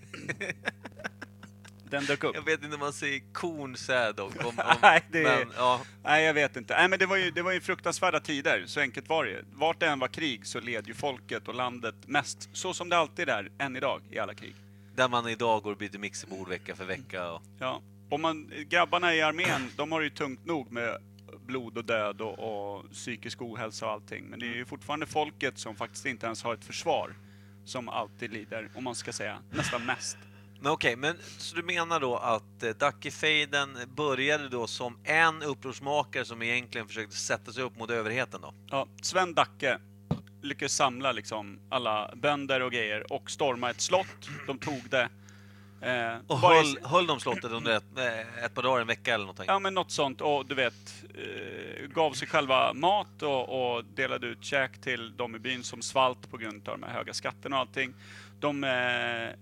Den dök upp.
jag vet inte om man säger kornsäd dock. Om, om,
[LAUGHS] Nej, det är-
men, ja,
Nej, jag vet inte. Nej, men det var ju, det var ju fruktansvärda tider, så enkelt var det ju. Vart det än var krig så led ju folket och landet mest, så som det alltid är, än idag, i alla krig.
Där man idag går och byter mixerbord vecka för vecka. Och,
Ja. Om man, grabbarna i armén, de har det ju tungt nog med blod och död och, och psykisk ohälsa och allting. Men det är ju fortfarande folket som faktiskt inte ens har ett försvar som alltid lider, om man ska säga nästan mest.
Men okej, men, så du menar då att eh, Dackefejden började då som en upprorsmakare som egentligen försökte sätta sig upp mot överheten då?
Ja, Sven Dacke lyckades samla liksom alla bönder och grejer och storma ett slott. De tog det. Eh,
Och
bara i-
höll, höll de slottet under ett, eh, ett par dagar, en vecka eller någonting?
Ja, men något sånt. Och du vet, eh, gav sig själva mat och, och delade ut käk till de i byn som svalt på grund av de här höga skatterna och allting. De eh, eh,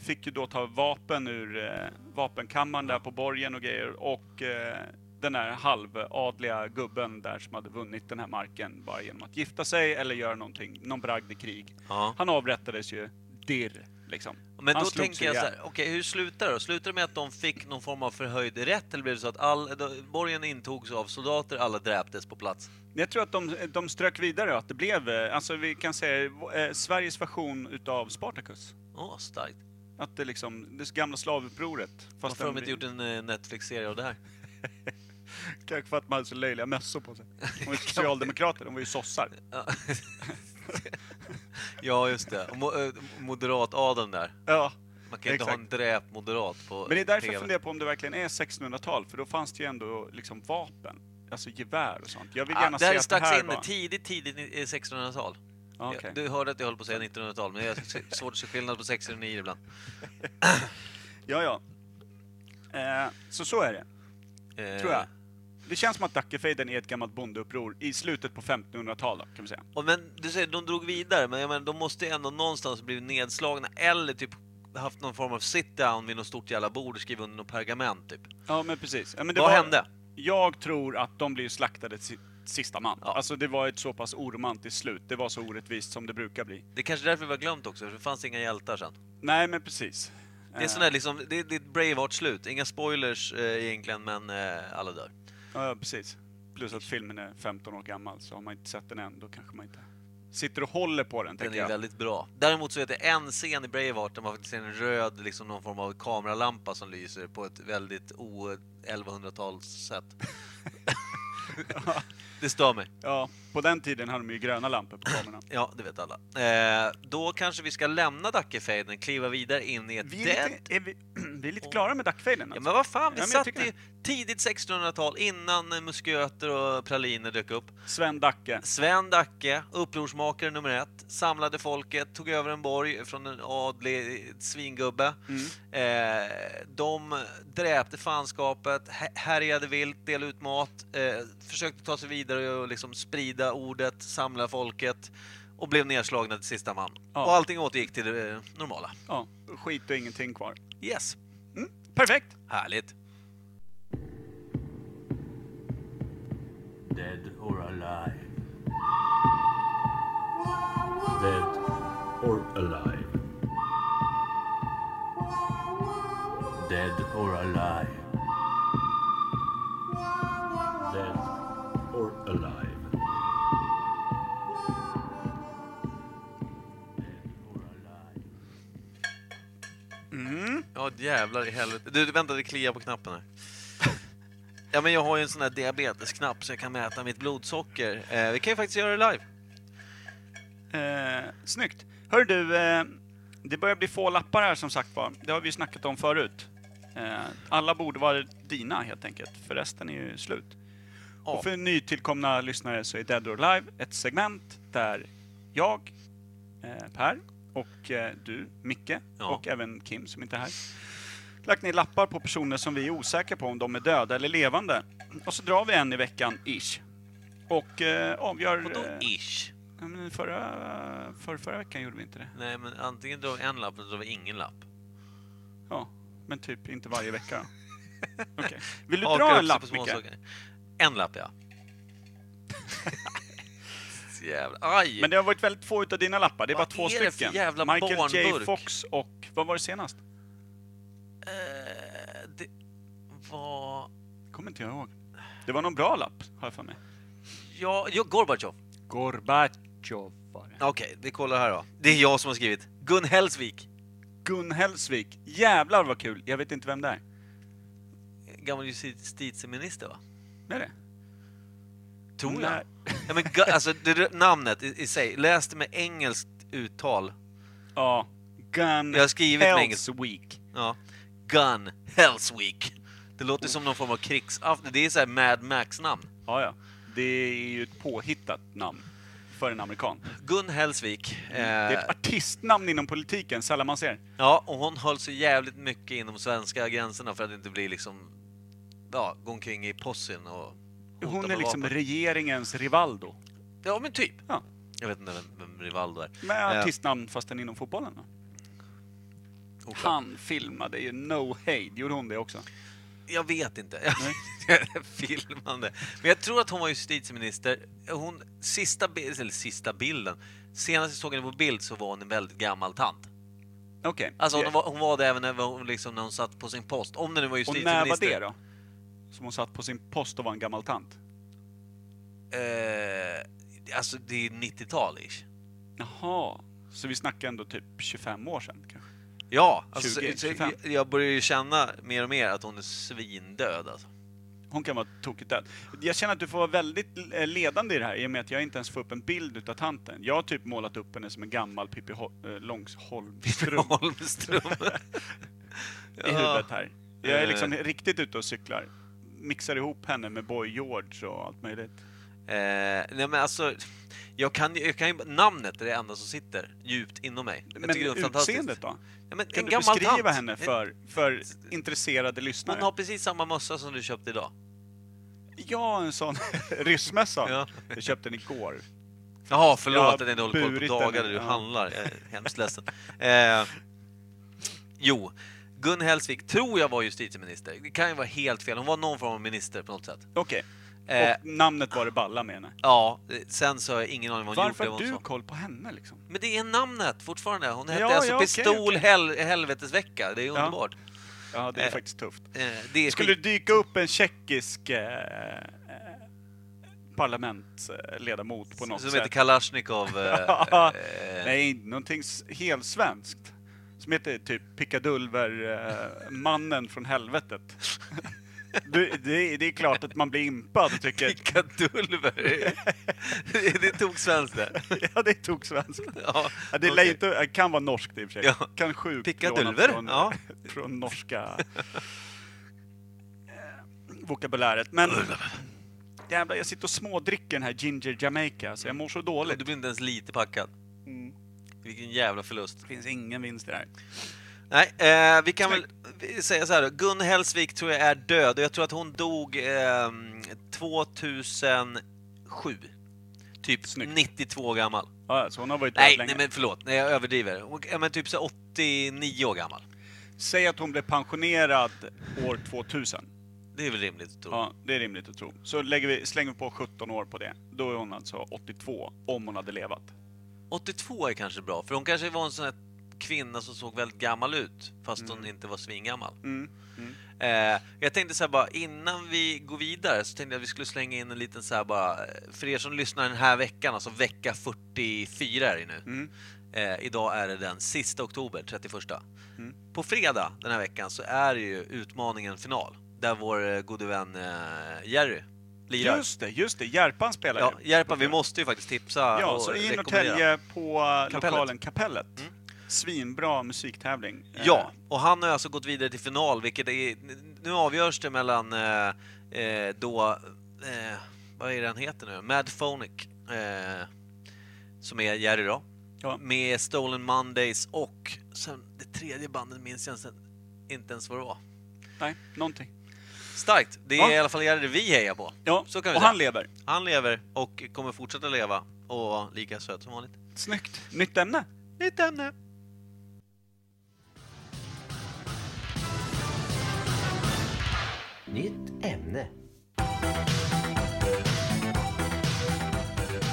fick ju då ta vapen ur eh, vapenkammaren där på borgen och grejer och eh, den här halvadliga gubben där som hade vunnit den här marken bara genom att gifta sig eller göra någonting, någon bragd i krig.
Ja.
Han avrättades ju dirr, liksom.
Men
Han
då
slog
tänker
sig
jag så
ihjäl.
här, okej hur slutar det då? Slutar det med att de fick någon form av förhöjd rätt eller blev det så att all, då, borgen intogs av soldater, alla dräptes på plats?
Jag tror att de, de strök vidare och att det blev, eh, alltså vi kan säga eh, Sveriges version utav Spartacus.
Åh, starkt.
Att det liksom, det gamla slavupproret.
Varför har de
den-
inte gjort en eh, Netflix-serie av det här?
Kanske för att man hade så löjliga mössor på sig.
[LAUGHS]
De var ju socialdemokrater, de var ju sossar.
Ja. [LAUGHS] ja, just det. Mo- eh, Moderat-adeln där.
Ja.
Man kan ju inte ha en dräpt moderat på
Men det är därför
TV.
jag funderar på om det verkligen är 1600-tal, för då fanns det ju ändå liksom vapen. Alltså gevär och sånt. Jag vill gärna
Ah,
se
där
att det
stack
här
in
var...
tidigt, tidigt i- i 1600-tal.
Ja,
Ja,
okej.
Du hörde att jag höll på att säga 1900-tal, men jag har svårt att se skillnad på 1609 ibland.
ja, ja. Eh, så så är det,
Eh,
tror jag. Det känns som att Dackefejden är ett gammalt bondeuppror i slutet på 1500-talet, kan vi säga.
Och men du säger, de drog vidare, men jag menar, de måste ju ändå någonstans blivit nedslagna eller typ haft någon form av sit-down vid något stort jävla bord och skrivit under något pergament, typ.
Ja, men precis. Ja, men
Vad hände?
Jag tror att de blev slaktade si- sista man.
Ja.
Alltså, det var ett så pass oromantiskt slut. Det var så orättvist som det brukar bli.
Det är kanske därför vi har glömt också, för det fanns inga hjältar sen.
Nej, men precis.
Det
Eh.
är sån där liksom, det, det är ett Braveheart-slut. Inga spoilers eh, egentligen, men eh, alla dör.
Ja, ja, precis. Plus att filmen är 15 år gammal, så har man inte sett den än, då kanske man inte sitter och håller på den,
Den
tänker
är
jag.
väldigt bra. Däremot så vet jag en scen i Braveheart där man faktiskt ser en röd, liksom någon form av kameralampa som lyser på ett väldigt o-1100-tals
[LAUGHS]
sätt. det stör mig.
Ja, på den tiden hade de ju gröna lampor
[CLEARS THROAT]
på kamerorna.
Ja, det vet alla. Eh, då kanske vi ska lämna Dackefejden, kliva vidare in i ett
Vi är,
dead...
lite, är, vi, [CLEARS THROAT] vi är lite klara med Duckfejden
Ja,
alltså.
men vad fan, vi
Ja, men
satt
jag tycker
i tidigt 1600-tal innan eh, musköter och praliner dök upp.
Sven Dacke.
Sven Dacke, upprorsmakare nummer ett, samlade folket, tog över en borg från en adlig svingubbe. Eh, de dräpte fanskapet, hä- härjade vilt, delade ut mat, eh, försökte ta sig vidare och liksom sprida ordet, samla folket och blev nedslagna till sista man.
Ja.
Och allting återgick till det eh, normala.
Ja, skit och ingenting kvar.
Yes,
Mm, perfekt!
härligt.
dead or alive. Dead or alive. Dead or alive. Dead or alive. Dead or alive.
Ja, jävlar i helvete. Du, vänta, det kliar på knappen [LAUGHS] här. Ja, men jag har ju en sån här diabetesknapp så jag kan mäta mitt blodsocker. Eh, vi kan ju faktiskt göra det live.
Eh, snyggt! Hör du, eh, det börjar bli få lappar här som sagt var. Det har vi ju snackat om förut. Eh, alla borde vara dina helt enkelt, för resten är ju slut.
Ja.
Och för nytillkomna lyssnare så är Dead or Alive ett segment där jag, eh, Per, och eh, du, Micke,
Ja.
och även Kim som inte är här, lagt ner lappar på personer som vi är osäkra på om de är döda eller levande. Och så drar vi en i veckan, ish. Och eh, avgör...
Vadå
eh,
ish?
Ja, men förra, för, förra veckan gjorde vi inte det.
Nej, men antingen drar vi en lapp eller drar vi ingen lapp.
Ja, men typ inte varje vecka.
[LAUGHS]
Okej. Vill du
Hakar
dra
upp
en
sig
lapp,
på små
Micke?
saker. En lapp, ja. [LAUGHS] Så Jävla. Aj!
Men det har varit väldigt få utav dina lappar. Det är
Vad
bara två
är det för
stycken.
jävla
Michael J
barnburk?
Fox och... Vad var det senast?
Eh, det var...
Kommer inte jag ihåg. Det var någon bra lapp, har jag för mig.
Ja, ja Gorbatjov.
Gorbatjov var det.
Okej, vi kollar här då. Det är jag som har skrivit. Gun Hellsvik.
Gun Hellsvik. Jävlar vad kul! Jag vet inte vem det är.
Gammal justitieminister, va?
Är det?
Tror jag.
Nej.
Ja, men, gu- alltså, det, det, namnet i, i sig, läs det med engelskt uttal.
Ja. Gun
Jag har skrivit med engelskt.
Hellsvik.
Ja. Gun Hellsvik. Det låter som någon form av krigsafton. Det är så här Mad Max-namn.
Ja, ja. Det är ju ett påhittat namn för en amerikan.
Gun Hellsvik.
Mm. Det är
Eh,
ett artistnamn inom politiken, sällan man ser.
ja, och hon höll sig jävligt mycket inom svenska gränserna för att inte bli liksom... Ja, gå omkring i possin och hota
Hon är
med
liksom
vapen.
regeringens Rivaldo.
Ja, men typ.
Ja.
Jag vet inte vem, vem Rivaldo är.
Med
Eh,
artistnamn fastän inom fotbollen då.
oklart.
Han filmade ju No Hate, gjorde hon det också?
Jag vet inte. [LAUGHS] Filmande. Men jag tror att hon var justitieminister. Hon, sista, bi- eller sista bilden, senast jag såg henne på bild så var hon en väldigt gammal tant.
Okej.
Alltså hon
Yeah.
var, hon var det även när hon, liksom, när hon satt på sin post. Om det nu var
och när
justitieminister.
var det då? Som hon satt på sin post och var en gammal tant?
Eh, alltså det är 90-tal ish.
Jaha, så vi snackar ändå typ 25 år sedan kanske?
Ja, alltså,
20,
så-
25.
jag- jag börjar ju känna mer och mer att hon är svindöd alltså.
Hon kan vara tokigt död. Jag känner att du får vara väldigt eh, ledande i det här i och med att jag inte ens får upp en bild utav tanten. Jag har typ målat upp henne som en gammal Pippi Ho- eh, Långsholmstrump
[LAUGHS] Holmström.
[LAUGHS] i huvudet här. Jag är
Eh.
liksom riktigt ute och cyklar. Mixar ihop henne med Boy George och allt möjligt.
Eh, nej men alltså, [LAUGHS] jag kan, ju- jag kan ju, namnet är det enda som sitter djupt inom mig. Jag
Men
tycker det är fantastiskt.
utseendet då?
Ja, men
Kan
en
du
gammal
beskriva
tant. Eh,
henne för, för intresserade
Hon
lyssnare?
har precis samma mössa som du köpte idag.
Ja, en sån [LAUGHS] ryssmössa.
Ja.
Jag köpte den igår.
Jaha, förlåt
Jag har
att jag inte håller koll
burit
på dagar
den,
där du
ja.
handlar. Jag är hemskt ledsen. Eh, jo, Gun Hellsvik tror jag var justitieminister. Det kan ju vara helt fel. Hon var någon form av minister på något sätt.
Okej.
Eh,
Och namnet var det balla med henne.
ja, eh, sen så har jag ingen aning vad hon
Varför
gjorde.
har
vad
du
hon sa.
koll på henne liksom?
Men det är namnet fortfarande. Hon hette
Ja,
alltså
ja, okej,
Pistol
okej.
Hel- Helvetesvecka. Det är underbart.
Ja, det är
Eh,
faktiskt tufft.
Eh, det är
Skulle
skit-
det dyka upp en tjeckisk eh, eh, parlamentsledamot på något
som heter
sätt? [LAUGHS]
Kalashnikov. Eh,
Ja.
eh,
Nej, någonting s- helt svenskt. Som heter typ Pickadulver, eh, mannen från helvetet. Du, det, det är klart att man blir impad och
[LAUGHS]
tycker
Pickadulver. det tog svenskt det.
ja, det tog svenskt.
Ja,
Ja,
okej.
det okay. inte, det kan vara norskt i och för sig.
Ja.
Kan sjukt
Pickadulver,
från,
ja.
[LAUGHS] från norska eh, vokabuläret. Men jävlar, jag sitter och smådricker den här Ginger Jamaica, så jag mår så dåligt.
Du blir inte ens lite packad.
Mm.
Vilken jävla förlust.
Det finns ingen vinst i det här.
Nej, eh, vi kan väl vi säga så här då. Gun Hellsvik tror jag är död och jag tror att hon dog eh, 2007. Typ
Snyggt.
92 gammal.
Ja, så hon har varit död
Nej,
länge.
nej men förlåt, nej, jag överdriver. Hon, ja, men typ så här 89 år gammal.
Säg att hon blev pensionerad år 2000.
Det är väl rimligt att tro.
Ja, det är rimligt att tro. Så lägger vi, slänger vi på 17 år på det. Då är hon alltså 82, om hon hade levat.
82 är kanske bra, för hon kanske var en sån här kvinna som såg väldigt gammal ut, fast hon inte var svingammal.
Mm.
Eh, jag tänkte så här bara, innan vi går vidare så tänkte jag att vi skulle slänga in en liten så här bara, eh, för er som lyssnar den här veckan, alltså vecka 44 är det nu.
Mm.
Eh, idag är det den sista oktober, 31.
Mm.
På fredag den här veckan så är det ju utmaningen final, där vår eh, gode vän eh, Jerry lirar.
Just det, just det. Järpan spelar
Ja,
ju.
Järpa, vi måste ju faktiskt tipsa
Ja,
och
så i
rekommendera.
Norrtälje på
Kapellet. Mm.
lokalen Kapellet. Svinbra musiktävling. Eh,
Ja, och han har alltså gått vidare till final, vilket är, nu avgörs det mellan eh, eh, då, eh, vad är det han heter nu, Mad Phonic, eh, som är Jerry då,
Ja.
med Stolen Mondays och sen det tredje bandet minns jag ens, inte ens vad det var.
Eh, Nej, någonting.
Starkt! Det är
Ja.
i alla fall Jerry vi hejar på.
Ja,
Så kan vi
och
säga.
han lever.
Han lever och kommer fortsätta leva och vara lika söt som vanligt.
Snyggt. Nytt ämne.
Nytt ämne!
Nytt ämne.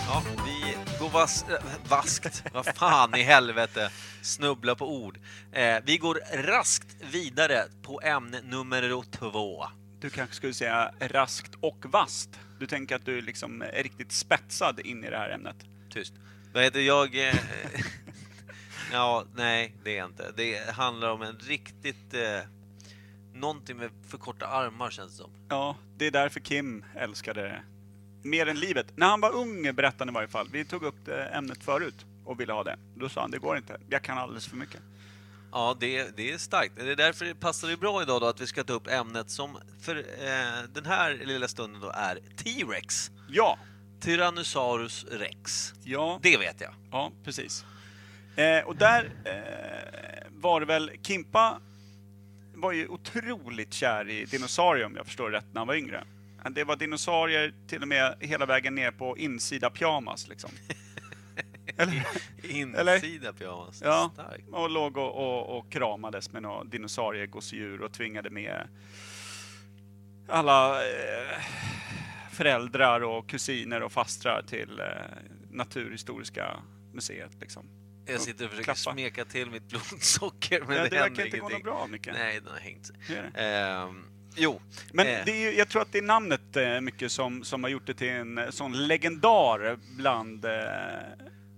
Ja, vi går vas- äh, vaskt, vad fan i helvete, snubbla på ord. Eh, vi går raskt vidare på ämne nummer två.
Du kanske skulle säga raskt och vast. Du tänker att du liksom är riktigt spetsad in i det här ämnet.
Tyst. Vad heter jag? Eh, [LAUGHS] ja, nej, det är jag inte. Det handlar om en riktigt... Eh, någonting med för korta armar känns det som.
Ja, det är därför Kim älskade det. Mer än livet. När han var ung berättade han i varje fall. Vi tog upp det ämnet förut och ville ha det. Då sa han, det går inte. Jag kan alldeles för mycket.
Ja, det, det är starkt. Det är därför det passar ju bra idag då att vi ska ta upp ämnet som för eh, den här lilla stunden då är T-Rex.
Ja,
Tyrannosaurus rex.
ja.
Det vet jag.
Ja, precis. Eh, och där eh, var det väl, Kimpa var ju otroligt kär i dinosaurier om jag förstår rätt när han var yngre. Det var dinosaurier till och med hela vägen ner på insida pyjamas liksom. Eller,
Insida pyjamas.
ja,
Starkt.
och låg och, och, och kramades med några dinosauriegosedjur och tvingade med alla eh, föräldrar och kusiner och fastrar till eh, Naturhistoriska museet liksom.
Jag sitter och försöker
Klappa.
smeka till mitt blodsocker men
Ja,
det,
det verkar
händer
inte gå
ingenting.
något bra, Micke.
Nej, den har hängt sig.
Hur är det?
Ehm, Jo.
Men
eh,
det är, ju- jag tror att det är namnet eh, mycket som, som har gjort det till en eh, sån legendar bland eh,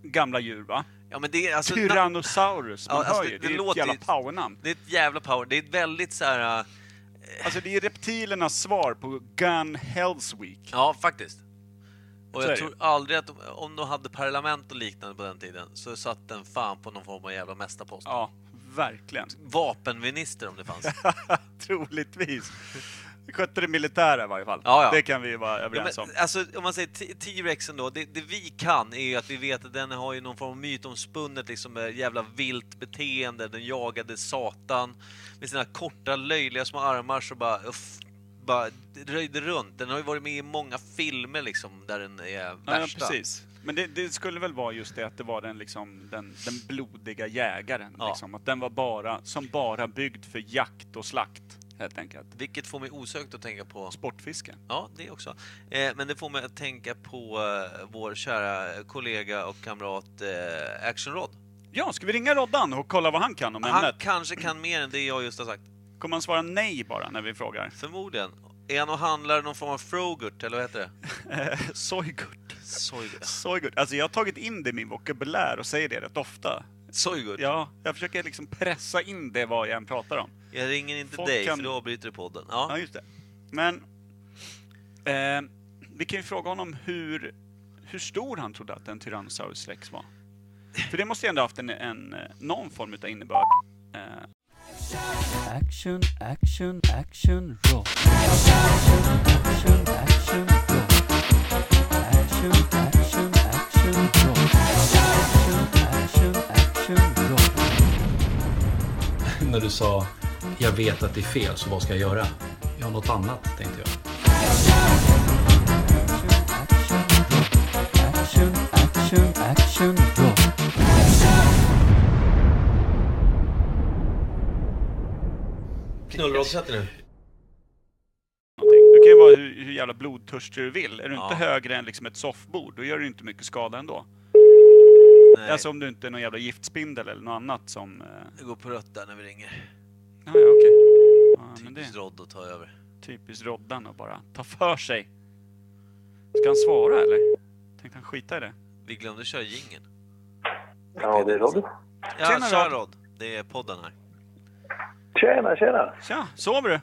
gamla djur va?
ja, men det, är alltså, na-
Tyrannosaurus, man
Ja, alltså,
hör ju.
det- det
Det, är ett
låter
jävla
ju-
powernamn.
det är ett jävla power. Det är ett väldigt så här... eh,
Alltså det är reptilernas svar på Gun Hells Week.
Ja, faktiskt. Och
Så är
jag
det
tror aldrig att de, om de hade parlament och liknande på den tiden så satt den fan på någon form av jävla mästarpost.
Ja, verkligen.
Vapenminister om det fanns.
Troligtvis. Skötte det militära i varje fall.
Ja, ja.
Det kan vi ju vara
Ja,
överens
men,
om.
alltså, om man säger T- T-rexen då, det, det vi kan är ju att vi vet att den har ju någon form av mytomspunnet liksom eh, jävla vilt beteende, den jagade satan med sina korta löjliga små armar så bara, uff, bara röjde runt. Den har ju varit med i många filmer liksom där den är
Ja, ja,
värsta.
precis. Men det, det skulle väl vara just det att det var den, liksom, den, den blodiga jägaren.
Ja.
Liksom. Att den var bara, som bara byggd för jakt och slakt, helt enkelt.
Vilket får mig osökt att tänka på
Sportfiske.
Ja, det också. Eh, men det får mig att tänka på eh, vår kära kollega och kamrat eh, Action Rod.
Ja, ska vi ringa Roddan och kolla vad han kan om
Han
ämnet?
kanske kan mer än det jag just har sagt.
Kommer han svara nej bara när
[LAUGHS]
vi frågar?
Förmodligen. Är han och handlar någon form av frogurt, eller vad heter det?
Eh, Sojgurt.
Sojgurt.
Sojgurt. Alltså jag har tagit in det i min vokabulär och säger det rätt ofta.
Sojgurt.
Ja, jag försöker liksom pressa in det vad jag än pratar om.
Jag ringer inte
Folk
dig,
kan-
för då avbryter du podden.
Ja,
Ja.
just det. Men eh, vi kan ju fråga honom hur, hur stor han trodde att en Tyrannosaurus rex var. För det måste ju ändå haft en, en, eh, någon form av innebörd. Eh,
Action, action, action, roll. Action, action, roll. Action, action, action, roll. Action, action, action, roll.
när du sa jag vet att det är fel, så vad ska jag göra? Jag har något annat, tänkte jag.
Action, action, action, action, roll.
Knullrådssätter nu.
någonting. du kan ju vara hur, hur jävla blodtörstig du vill. Är du
Ja.
inte högre än liksom ett soffbord, då gör du inte mycket skada ändå.
Nej,
Alltså om du inte är någon jävla giftspindel eller något annat som... Eh,
det går på rött där när vi ringer.
ja, ja, okej. Ja, men det
Typiskt Rod att ta över.
typiskt Roddan att bara ta för sig. Ska han svara eller? Tänkte han skita i det?
Vi glömde köra jingeln.
Ja, det är Robin.
Ja,
Tjena,
kör
Rod.
Rod. Det är podden här.
Tjena, tjena.
Tja, sover du?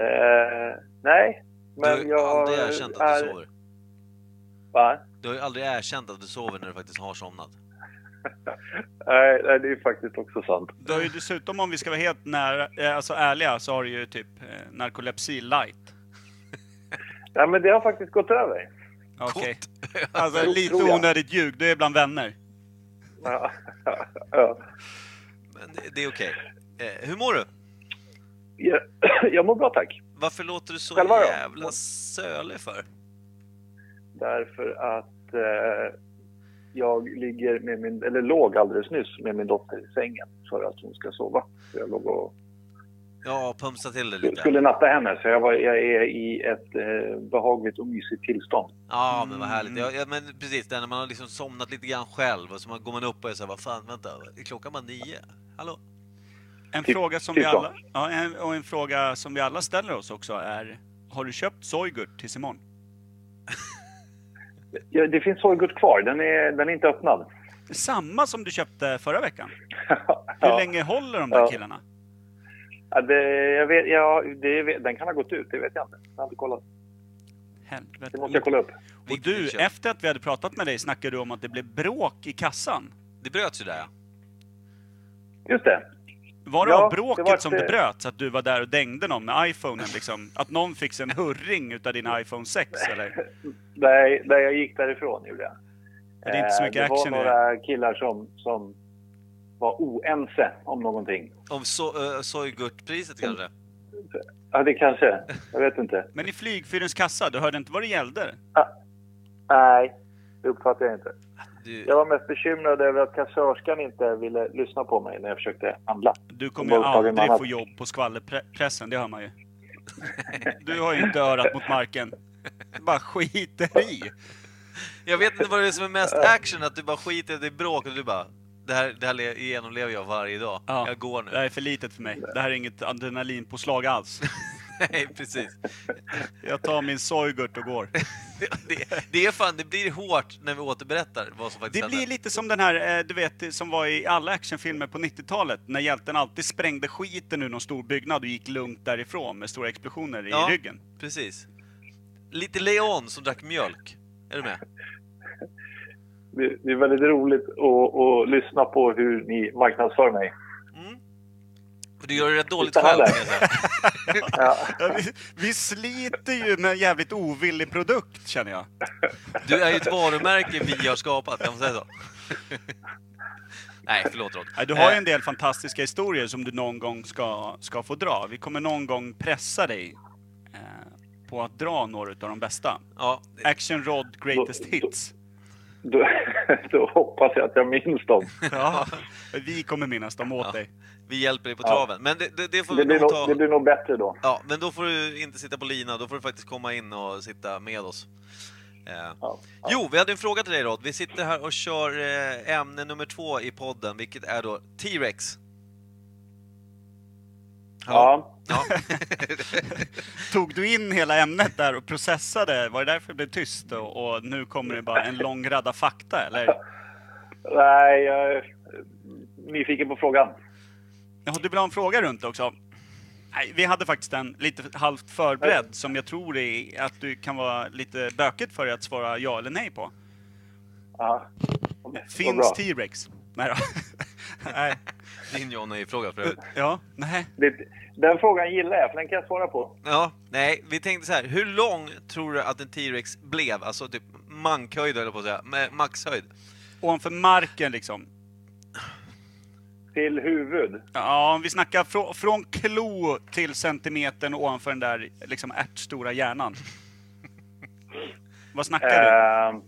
Eh, nej, men
du har
jag
aldrig erkänt att
är-
du sover.
Va?
Du har ju aldrig erkänt att du sover när du faktiskt har somnat.
Nej, nej, det är faktiskt också sant.
Du har ju dessutom, om vi ska vara helt nära, eh, alltså ärliga, så har du ju typ eh, narkolepsi light.
Nej, men det har faktiskt gått över. [LAUGHS]
Okej.
Jo,
Alltså lite
tror jag.
onödigt ljug, du är bland vänner.
Ja. [LAUGHS] Ja.
Men det, det är okej. Eh, hur mår du?
Ja, jag [CLEARS THROAT] mår bra, tack.
Varför låter du så
Själva då?
jävla sölig för?
Därför att eh, jag ligger med min, eller låg alldeles nyss med min dotter i sängen för att hon ska sova. Så jag låg och
Ja, pumsa till det
jag
lite.
skulle natta henne, så jag, var, jag är i ett eh, behagligt och mysigt tillstånd.
Ja, men vad härligt. Ja, ja, men precis, där när man har liksom somnat lite grann själv och så man, går man upp och är så här, vad fan, vänta, är klockan bara nio? Hallå?
En
Typ-
fråga som
typ
vi alla, ja, en, och en fråga som vi alla ställer oss också är, har du köpt Soygurt tills imorgon?
Ja, det finns sorgut kvar, den är, den är inte öppnad. [LAUGHS]
Samma som du köpte förra veckan. Hur
Ja.
länge håller de där
Ja.
killarna?
Ja, det, jag vet, ja, det, vet- den kan ha gått ut, det vet jag inte. Jag har inte kollat.
Helvete.
Det måste jag kolla upp.
Och
Vilket
du,
vi köpte.
efter att vi hade pratat med dig snackade du om att det blev bråk i kassan.
Det bröts ju där, ja.
Just det.
Var det
Ja,
av bråket
det var
som
ett,
det
eh,
bröts? Att du var där och dängde någon med iPhonen liksom? Att någon fick sig en hurring utav din iPhone 6 eller?
Där, där jag gick därifrån gjorde jag.
det är inte så
Eh,
mycket
det
action i
var några killar som, som var oense om någonting.
Om so uh, sojgurtpriset kanske?
Ja, det kanske. Jag vet inte.
Men i flygfyrens kassa, du hörde inte vad det gällde?
Nej, det uppfattar jag inte.
Du,
Jag var mest bekymrad över att kassörskan inte ville lyssna på mig när jag försökte handla.
Du kommer ju
Vad tar vi
aldrig
med
få
annat?
jobb på skvallerpressen, det hör [LAUGHS] man ju. Du har ju inte örat mot marken. Bara skiter i.
jag vet inte vad det är som är mest action, att du bara skiter i att det är bråk och du bara, det här, det här le- genomlever jag varje dag.
Ja.
Jag går nu.
Det här är för litet för mig. Det här är inget adrenalinpåslag alls.
[LAUGHS] Nej, precis.
Jag tar min Soygurt och går.
Det- Det, det, är fan, det blir hårt när vi återberättar vad som faktiskt
Det blir
hände.
lite som den här, eh, du vet, som var i alla actionfilmer på 90-talet när hjälten alltid sprängde skiten ur någon stor byggnad och gick lugnt därifrån med stora explosioner i
Ja.
ryggen.
Precis. Lite Leon som drack mjölk. Är du med?
Det, det är väldigt roligt att, att lyssna på hur ni marknadsför mig.
För Du gör det rätt dåligt
Titta här
själv.
där.
kan jag säga.
Ja,
Ja, Vi, vi sliter ju med en jävligt ovillig produkt känner jag.
Du är ju ett varumärke vi har skapat, kan man säga så? Nej, förlåt Rod.
Nej, Du har ju en del fantastiska historier som du någon gång ska, ska få dra. Vi kommer någon gång pressa dig eh, på att dra några av de bästa.
Ja,
Action Rod Greatest Hits.
då, [LAUGHS] då hoppas jag att jag minns dem.
Ja, [LAUGHS] vi kommer minnas dem åt
Ja.
dig.
vi hjälper dig på
Ja.
traven. Men det, det, det får vi
Det blir,
nog
nog, det
ta...
blir nog bättre då.
Ja, men då får du inte sitta på lina, då får du faktiskt komma in och sitta med oss. Eh,
Ja,
Jo, vi hade en fråga till dig Rod. Vi sitter här och kör eh, ämne nummer två i podden, vilket är då T-Rex. Hallå?
ja.
Ja. [LAUGHS]
Tog du in hela ämnet där och processade? Var det därför det blev tyst? Och, och nu kommer det bara en lång radda fakta, eller?
Nej, jag är nyfiken på frågan.
Jaha, du vill ha en fråga runt också? Nej, vi hade faktiskt en lite halvt förberedd som jag tror är att du kan vara lite bökigt för dig att svara ja eller nej på.
Ja. Vad
Finns
bra.
T-Rex? Nej då. [LAUGHS] nej.
Din John har ju frågat för övrigt.
Ja, nej.
Det- Den frågan gillar jag, för den kan jag svara på.
Ja, nej, vi tänkte så här. Hur lång tror du att en T-Rex blev? Alltså typ mankhöjd höll jag på att säga, med maxhöjd.
Ovanför marken liksom.
Till huvud.
Ja, om vi snackar frå- från klo till centimetern ovanför den där liksom ärtstora hjärnan. Vad snackar du?
Ehm,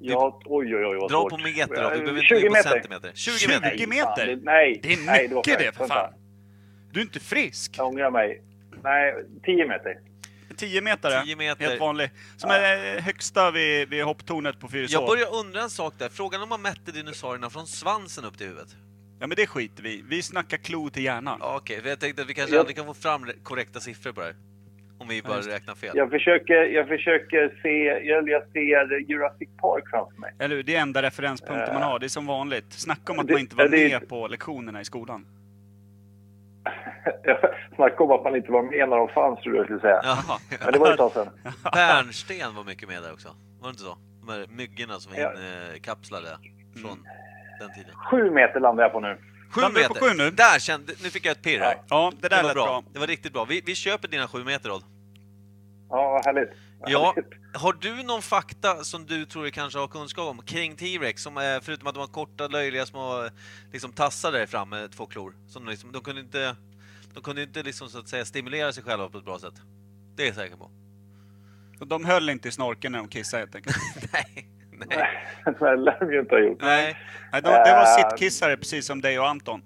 ja, oj, oj, oj. Vad
Dra
svårt.
på meter då, du behöver inte
20
gå in på
meter.
centimeter. 20 meter!
20
Nej, fan,
meter?
det- Nej,
Det är
nej, var
mycket
fel.
det, för
Vänta,
fan. Du är inte frisk!
Jag ångrar mig. Nej, 10 meter.
10 metare.
10 meter.
Helt vanlig. Som är eh, högsta vid, vid hopptornet på Fyriså.
Jag börjar undra en sak där. Frågan om man mätte dinosaurierna från svansen upp till huvudet?
Ja men det skiter vi i. Vi snackar klo till hjärnan.
Ja, Okej, för jag tänkte att vi kanske
Ja.
aldrig kan få fram re- korrekta siffror på det här. Om vi bara
just det.
räknar fel.
Jag försöker, jag försöker se, jag, jag ser Jurassic Park framför mig. [LAUGHS]
Eller hur? Det är enda referenspunkten man har. Det är som vanligt. Snacka om att
Eh. det-
man inte var
det är-
med på lektionerna i skolan.
Snacka om att man inte var med när de fanns, tror jag jag skulle säga.
Ja. [LAUGHS]
Men det var ju ett tag sedan.
Bärnsten var mycket med där också. Var det inte så? De här myggorna som
Ja.
var inkapslade från den tiden.
7 meter landar jag på nu.
7
Landar vi
meter!
på sju nu?
Där kände... Nu fick jag ett pirr här.
Ja, det där
Det var
lät bra.
bra. Det var riktigt bra. Vi, vi köper dina sju meter, Odd.
Ja, vad härligt.
Ja. Har du någon fakta som du tror du kanske har kunskap om kring T-Rex? Som, eh, förutom att de har korta, löjliga små eh, liksom, tassar där fram med två klor. Som de, liksom, de kunde inte, de kunde inte liksom, så att säga, stimulera sig själva på ett bra sätt. Det är jag säker på.
De höll inte i snorken när de kissade helt enkelt.
Nej. Nej.
[LAUGHS] det lär de ju inte ha gjort.
Nej.
Nej, de, det var
Äh.
sittkissare precis som dig och Anton.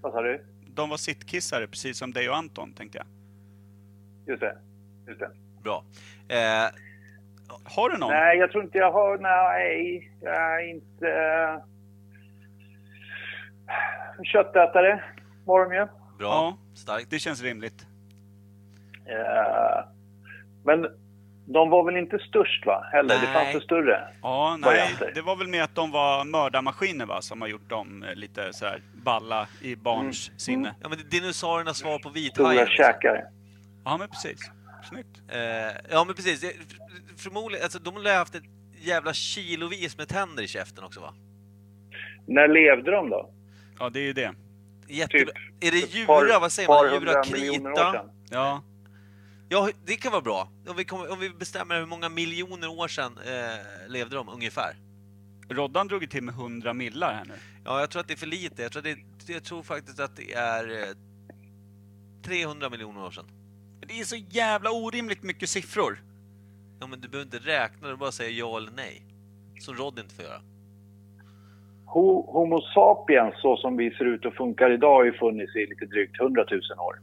Vad sa du?
De var sittkissare precis som dig och Anton, tänkte jag.
Just det. Just det.
Bra. Eh,
Har du någon?
Nej, jag tror inte jag har... Nej, jag är inte... eh, Köttätare var de ju.
bra.
Ja.
Starkt.
Det känns rimligt.
Eh, Men de var väl inte störst, va? Heller. Det
Nej.
fanns väl större?
Ja,
Vad är
nej.
det?
Det var väl med att de var mördarmaskiner va, som har gjort dem eh, lite så här balla i barns
Mm.
sinne.
Ja, men det är dinosauriernas svar på vithajen.
Stora
liksom.
käkar.
Ja, men precis. Snyggt.
Eh, ja, men precis. Det- Förmodligen, alltså, de lär ha haft ett jävla kilovis med tänder i käften också, va?
När levde de då?
Ja, det är ju det.
Jättebra. Är det
Typ Ett par-
djura? Vad säger
par
man? Djura
hundra miljoner år
krita?
sedan.
Ja,
Ja, det kan vara bra. Om vi, kommer, om vi bestämmer hur många miljoner år sedan eh, levde de ungefär.
Roddan drog ju till med 100 millar här nu.
Ja, jag tror att det är för lite. Jag tror, att det, jag tror faktiskt att det är eh, 300 miljoner år sedan.
Det är så jävla orimligt mycket siffror.
Ja, men du behöver inte räkna, du bara säger ja eller nej. Som Rod inte får göra.
Ho- Homo sapiens, så som vi ser ut och funkar idag, har ju funnits i lite drygt 100 000 år.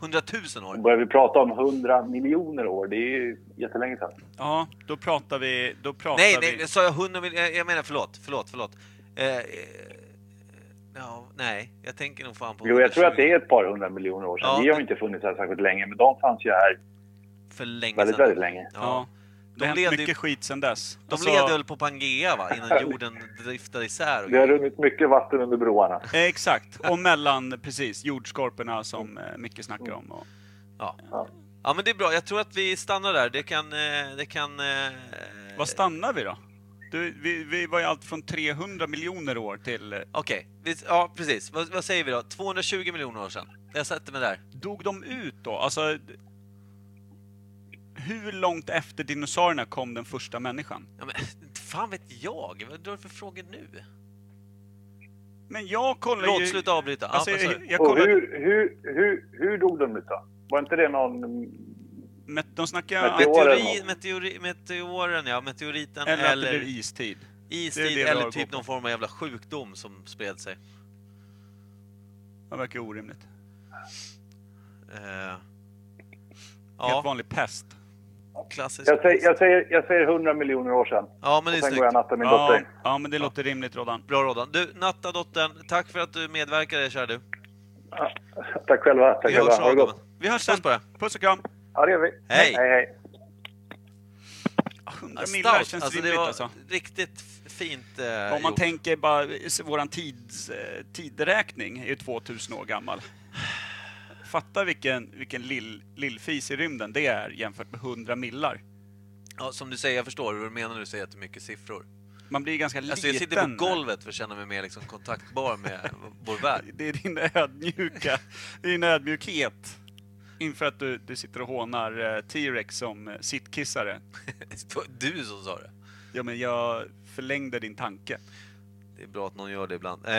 100 000 år?
Börjar vi prata om 100 miljoner år, det är ju jättelänge sedan.
Ja, då pratar vi... Då pratar
Nej,
vi...
nej, sa jag 100 miljoner? Jag menar förlåt, förlåt, förlåt. Eh, eh, Ja, nej, jag tänker nog fan på...
Jo, jag tror att det är ett par hundra miljoner år sedan.
Ja.
Vi har ju inte funnits här särskilt länge, men de fanns ju här
För länge
väldigt,
sedan.
väldigt länge.
Ja.
Det har hänt
levde ju-
mycket skit sedan dess. Alltså,
De levde väl på Pangea va? Innan jorden driftade isär. Och...
Det har runnit mycket vatten under broarna.
eh, Exakt, och mellan [LAUGHS] precis jordskorporna som eh, Micke snackar om.
Mm.
Och,
Ja. ja, men det är bra. Jag tror att vi stannar där. Det kan... eh, Det kan eh,
vad stannar vi då? Du, vi, vi var ju allt från 300 miljoner år till... eh,
Okej, vi- ja precis. Vad, vad säger vi då? 220 miljoner år sedan. Jag sätter mig där.
Dog de ut då? Alltså... d- Hur långt efter dinosaurierna kom den första människan?
Ja, men, [LAUGHS] fan vet jag? Vad drar du för frågor nu?
Men jag kollar ju...
Förlåt, sluta avbryta. Ja,
Alltså,
vad sa
jag,
du?
jag
Och
kollar...
hur, hur, hur, hur dog de ut då? Var inte det någon...
Met, de snackar...
Meteor-
antingen-
Meteori, meteori, meteoren, ja. Meteoriten
Eller,
eller,
att det blev istid. det är
istid
det vi har
eller
att gå
typ
på.
någon form av jävla sjukdom som spred sig.
Det verkar orimligt.
Eh,
Helt
ja,
vanlig pest.
klassiskt.
Jag säger, jag, säger, jag säger 100 miljoner år sedan.
Ja, men
Och
det är
sen
snyggt.
går jag och nattar min
Ja,
dotter.
ja, men det låter rimligt Rodan.
Bra Rodan. Du, Natta dottern, tack för att du medverkade kära du.
Tack själva. Tack
Vi
själva.
hörs
Ha det
av
gott.
gubben.
Vi hörs sen.
Puss på dig.
Puss och kram.
Ja, det gör vi.
Hej.
Hej, hej.
100
Ja,
millar
Stout,
känns
alltså det
rimligt
var
alltså.
riktigt f- fint eh,
Om man
gjort.
tänker bara, s- våran tids, eh, tideräkning är ju 2000 år gammal. Fatta vilken, vilken lill, lillfis i rymden det är jämfört med 100 millar.
ja, Som du säger, jag förstår vad du menar när du säger att det är mycket siffror.
Man blir ganska
Alltså jag
liten.
sitter på golvet för att känna mig mer liksom, kontaktbar med [LAUGHS] vår värld.
Det är din ödmjuka, det är din ödmjukhet. Inför att du, du sitter och hånar eh, T-Rex som eh, sittkissare.
Det var du som sa det.
Ja, men jag förlängde din tanke.
Det är bra att någon gör det ibland. Eh,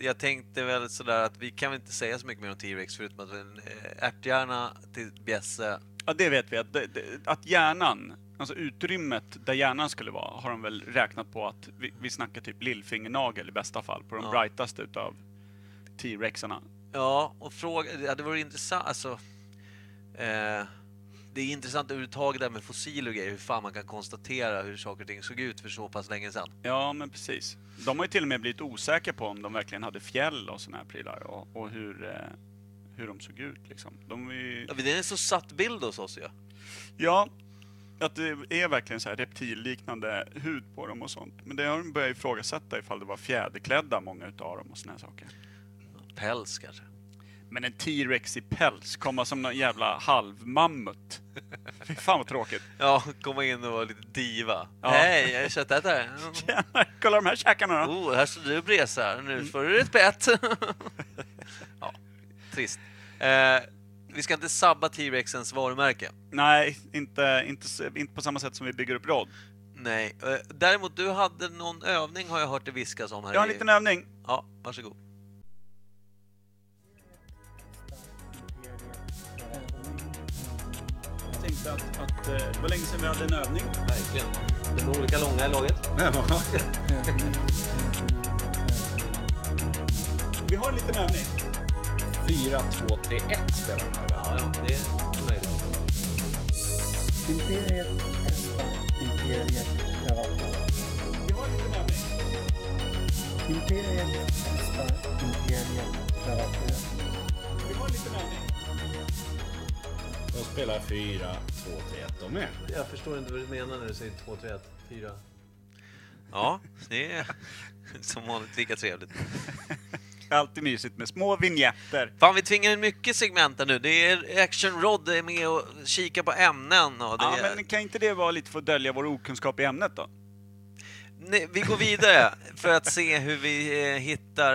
jag tänkte väl sådär att vi kan väl inte säga så mycket mer om T-Rex förutom att en eh, ärthjärna till bjässe.
Ja, det vet vi. Att, det- det- att hjärnan, alltså utrymmet där hjärnan skulle vara, har de väl räknat på att vi, vi snackar typ lillfingernagel i bästa fall, på de
Ja.
brightaste utav T-rexarna.
Ja, och fråga, ja, det vore intressant, alltså. Eh, det är intressant överhuvudtaget det här med fossiler och grejer, hur fan man kan konstatera hur saker och ting såg ut för så pass länge sedan.
Ja, men precis. De har ju till och med blivit osäkra på om de verkligen hade fjäll och såna här prylar och, och hur, eh, hur de såg ut liksom. De är ju...
Ja, men Det är en så satt bild hos oss ju.
Ja, att det är verkligen så här reptilliknande hud på dem och sånt. Men det har de börjat ifrågasätta ifall det var fjäderklädda, många utav dem och såna här saker.
Päls kanske.
Men en T-rex i päls, komma som någon jävla halvmammut. [LAUGHS] Fy fan vad tråkigt.
Ja, komma in och vara lite diva.
Ja.
Hej, jag är
[LAUGHS]
köttätare. Mm.
Tjena, kolla de här käkarna då.
Oh, här står du och bresar.
Mm.
Nu får du ett
[LAUGHS]
bett. ja, trist. Eh, vi ska inte sabba T-Rexens varumärke.
Nej, inte, inte, s- inte på samma sätt som vi bygger upp rad.
Nej. Eh, däremot, du hade någon övning har jag hört det viskas om här
Jag har
i-
en liten övning.
Ja, varsågod.
Jag tänkte att, att eh, det var länge sedan vi hade en övning.
Verkligen. Det var olika långa i laget.
Vi har en liten övning.
4, 2, 3, 1 spelar man här.
Ja, ja, det är möjligt.
Vi har en liten övning. Vi har en liten övning.
De spelar 4, 2, 3, 1 de med.
Jag förstår inte vad du menar när du säger 2, 3, 1, 4.
Ja, det är [LAUGHS] som vanligt lika trevligt.
Alltid mysigt med små vignetter.
Fan, vi tvingar in mycket segment här nu. Det är Action Rod är med och kikar på ämnen och det
Ja,
är...
men kan inte det vara lite för att dölja vår okunskap i ämnet då?
Nej, vi går vidare [LAUGHS] för att se hur vi eh, hittar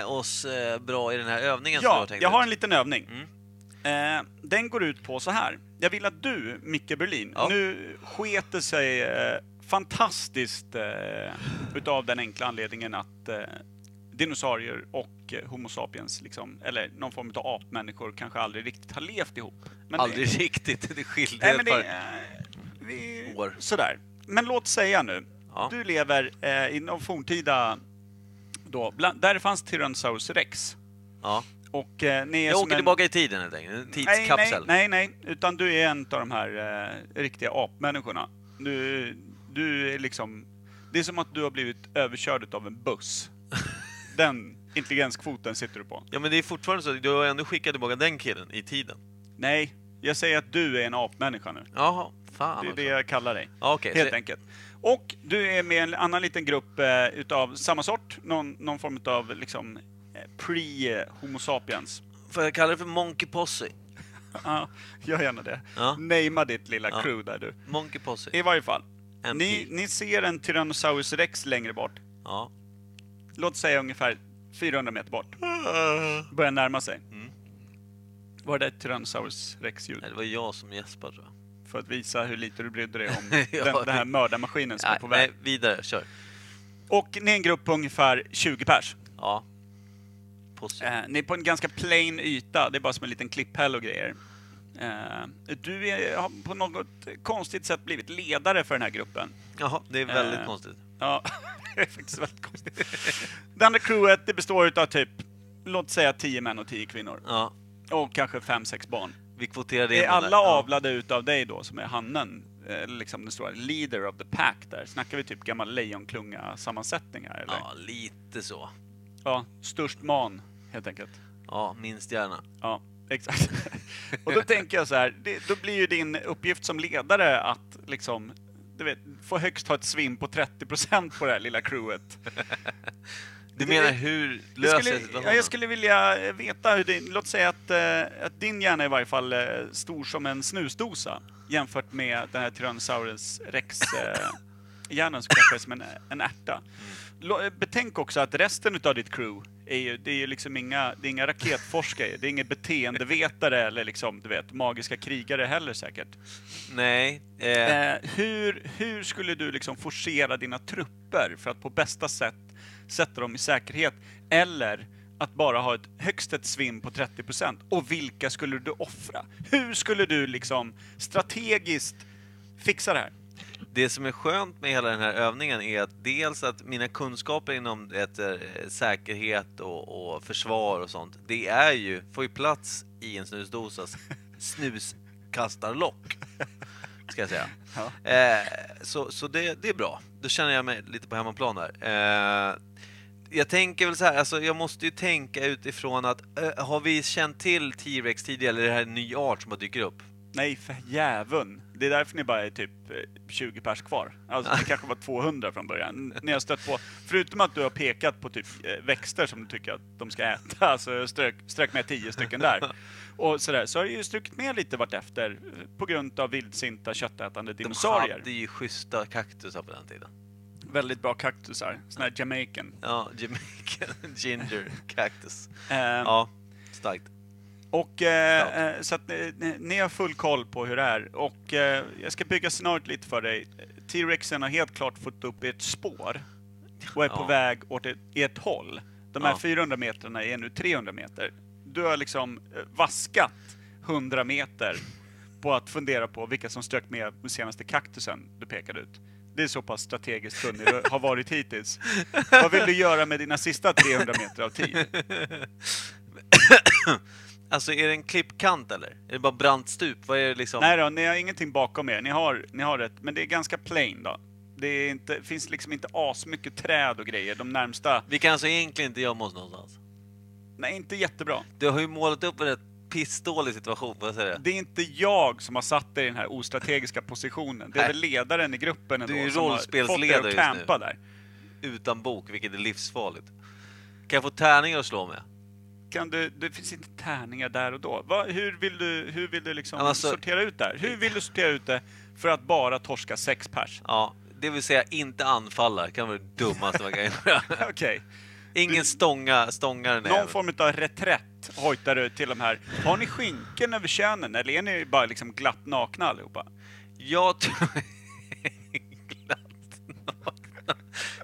eh, oss eh, bra i den här övningen som du
Ja,
har tänkt
jag har
ut. Mm.
en liten övning. Eh, den går ut på så här. Jag vill att du, Micke Berlin,
Ja.
nu sketer sig eh, fantastiskt eh, utav den enkla anledningen att eh, dinosaurier och eh, Homo sapiens, liksom, eller någon form av apmänniskor, kanske aldrig riktigt har levt ihop. Men
Aldrig riktigt, det skilde
Nej, men
ett
det
par...
är... Vi,
År.
sådär. Men låt säga nu,
Ja.
du lever eh, i någon forntida... Då, bland, där det fanns Tyrannosaurus rex.
Ja.
Och eh, ni är
Jag
som
åker
en...
tillbaka i tiden helt enkelt, en
Nej,
tidskapsel.
Nej, nej, nej. Utan du är en av de här eh, riktiga apmänniskorna.
[LAUGHS]
Du, du är liksom... Det är som att du har blivit överkörd av en buss. Den intelligenskvoten sitter du på.
Ja, men det är fortfarande så att du har ändå skickat tillbaka den killen i tiden.
Nej, jag säger att du är en apmänniska nu.
Jaha, fan
Det är
också.
det jag kallar dig.
Ja, okej,
Helt
så-
enkelt. Och du är med i en annan liten grupp eh, utav samma sort, någon, någon form utav liksom eh, pre-Homo sapiens.
Får jag kalla det för Monkey Posse?
Ja, gör gärna det.
Ja.
Namea ditt lilla
Ja.
crew där du.
Monkey Posse.
I varje fall,
MP.
ni, ni ser en Tyrannosaurus rex längre bort.
Ja.
Låt säga ungefär 400 meter bort. Börjar närma sig.
Mm.
Var det ett Tyrannosaurus rex-ljud?
Nej, det var jag som gäspade tror jag.
För att visa hur lite du brydde dig
[LAUGHS]
om
Ja,
den, den här
det-
mördarmaskinen som är
Nej,
på väg.
nej, vidare. Kör.
Och ni är en grupp på ungefär 20 pers.
Ja. Posse.
Eh, ni är på en ganska plain yta, det är bara som en liten klipphäll och grejer. Eh, du är, har på något konstigt sätt blivit ledare för den här gruppen.
Jaha, det är väldigt
eh,
konstigt.
Ja, [LAUGHS] det är faktiskt väldigt konstigt. Det andra crewet det består av typ, låt säga 10 män och 10 kvinnor.
Ja,
Och kanske 5-6 barn.
vi kvoterade in
Är
de där.
alla
Ja.
avlade utav dig då, som är hannen? Eller liksom den stora leader of the pack där. Snackar vi typ gammal lejonklunga-sammansättning här eller?
Ja, lite så.
Ja, störst man helt enkelt.
Ja, minst gärna.
Ja, exakt. [LAUGHS] Och då tänker jag så här, det, då blir ju din uppgift som ledare att liksom, du vet, få högst ha ett svinn på 30% på det här lilla crewet.
Du menar hur löser
Jag
jag
skulle,
situationen?
ja, jag skulle vilja eh, veta hur din, låt säga att, eh, att din hjärna i varje fall är stor som en snusdosa jämfört med den här Tyrannosaurus rex eh, hjärnan som kanske är som en, en
Mm.
ärta. Lå- Betänk också att resten utav ditt crew är ju, det är ju liksom inga, det är inga raketforskare, det är inga beteendevetare eller liksom, du vet, magiska krigare heller säkert.
Nej. Eh,
Eh, hur, hur skulle du liksom forcera dina trupper för att på bästa sätt sätta dem i säkerhet? Eller att bara ha ett högst ett svinn på 30% och vilka skulle du offra? Hur skulle du liksom strategiskt fixa det här?
det som är skönt med hela den här övningen är att dels att mina kunskaper inom vet, eh, säkerhet och, och försvar och sånt, det är ju, får ju plats i en snusdosas snuskastarlock. Ska jag säga. Eh, så så det, det är bra. Då känner jag mig lite på hemmaplan där. Eh, jag tänker väl så här, alltså jag måste ju tänka utifrån att eh, har vi känt till T-Rex tidigare eller är det här en ny art som har dyker upp?
Nej, för jäveln. Det är därför ni bara är typ eh, 20 pers kvar. Alltså, det kanske var 200 från början. Ni har stött på, förutom att du har pekat på typ eh, växter som du tycker att de ska äta, [LAUGHS] alltså strök, strök med 10 stycken där. Och sådär, så har du ju strukit med lite vartefter eh, på grund av vildsinta köttätande
De
dinosaurier.
hade ju schyssta kaktusar på den tiden.
Väldigt bra kaktusar, sådana här Jamaican.
Ja, Jamaican [LAUGHS] ginger cactus.
Eh,
Ja, starkt.
Och eh, eh, så att ni, ni- ni har full koll på hur det är. Och eh, jag ska bygga scenariot lite för dig. T-Rexen har helt klart fått upp ert spår och är på
Ja.
väg åt ett, ert håll. De här
Ja.
400 metrarna är nu 300 meter. Du har liksom eh, vaskat 100 meter på att fundera på vilka som strök med den senaste kaktusen du pekade ut. Det är så pass strategiskt kunnig du har varit hittills. Vad vill du göra med dina sista 300 meter av tid?
Alltså, är det en klippkant eller? Är det bara brant stup? Vad är det liksom?
Nej då, ni har ingenting bakom er. Ni har, ni har ett, men det är ganska plain då. Det är inte, finns liksom inte asmycket träd och grejer de närmsta.
Vi kan alltså egentligen inte gömma oss någonstans.
Nej, inte jättebra.
Du har ju målat upp en rätt pissdålig situation, får jag säga det?
Det är inte jag som har satt er i den här ostrategiska positionen. Det är
Nej.
väl ledaren i gruppen ändå
Du är ju
som har fått er
rollspelsledare
att
just nu.
campa där.
Utan bok, vilket är livsfarligt. Kan jag få tärningar att slå med?
Kan du, det finns inte tärningar där och då. Va, hur vill du, hur vill du liksom
Ja, men alltså-
sortera ut det här? Hur vill du sortera ut det för att bara torska sex pers? [LAUGHS]
Ja, det vill säga inte anfalla. Det kan vara det dummaste man kan
[LAUGHS]
göra.
Okej.
Ingen stånga, stångar den
Någon
även.
form av reträtt hojtar du till de här. Har ni skynken över könen eller är ni bara liksom glatt nakna allihopa?
Jag tror... Glatt nakna.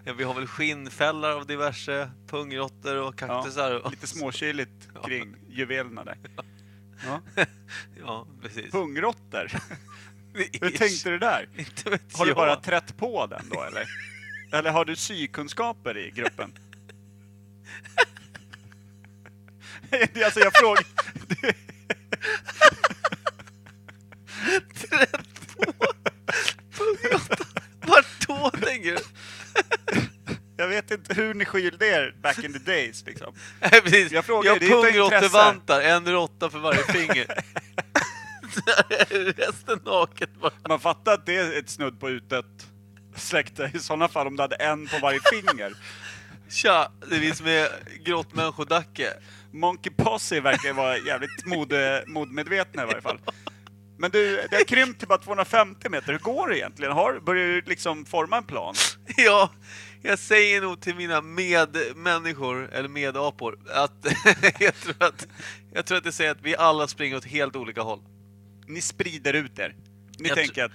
ja, vi har väl skinnfällar av diverse pungråttor och kaktusar. och-
Lite småkyligt kring juvelerna där. Ja.
Ja, precis.
Pungråttor? Hur tänkte du där?
Inte vet
Har du
jag.
bara trätt på den då eller? Eller har du sykunskaper i gruppen? [LAUGHS] alltså jag frågar...
Vart då, tänker du?
Jag vet inte hur ni skilde er back in the days liksom.
Nej, precis.
Jag
Jag,
frågar ju, det är ett
pungråttevantar, en råtta för varje
[LAUGHS]
finger. Resten naket bara.
Man fattar att det är ett snudd på utdött släkte i sådana fall om du hade en på varje finger.
Tja, det är vi som är grottmänniskodacke.
Monkey Posse verkar vara jävligt mode, modmedvetna i varje fall. Men du, det har krympt till bara 250 meter. Hur går det egentligen? Har, börjar du liksom forma en plan?
[LAUGHS] Ja, jag säger nog till mina medmänniskor, eller medapor, att [LAUGHS] jag tror att, jag tror att det säger att vi alla springer åt helt olika håll.
Ni sprider ut er. Ni
Jag
tänker att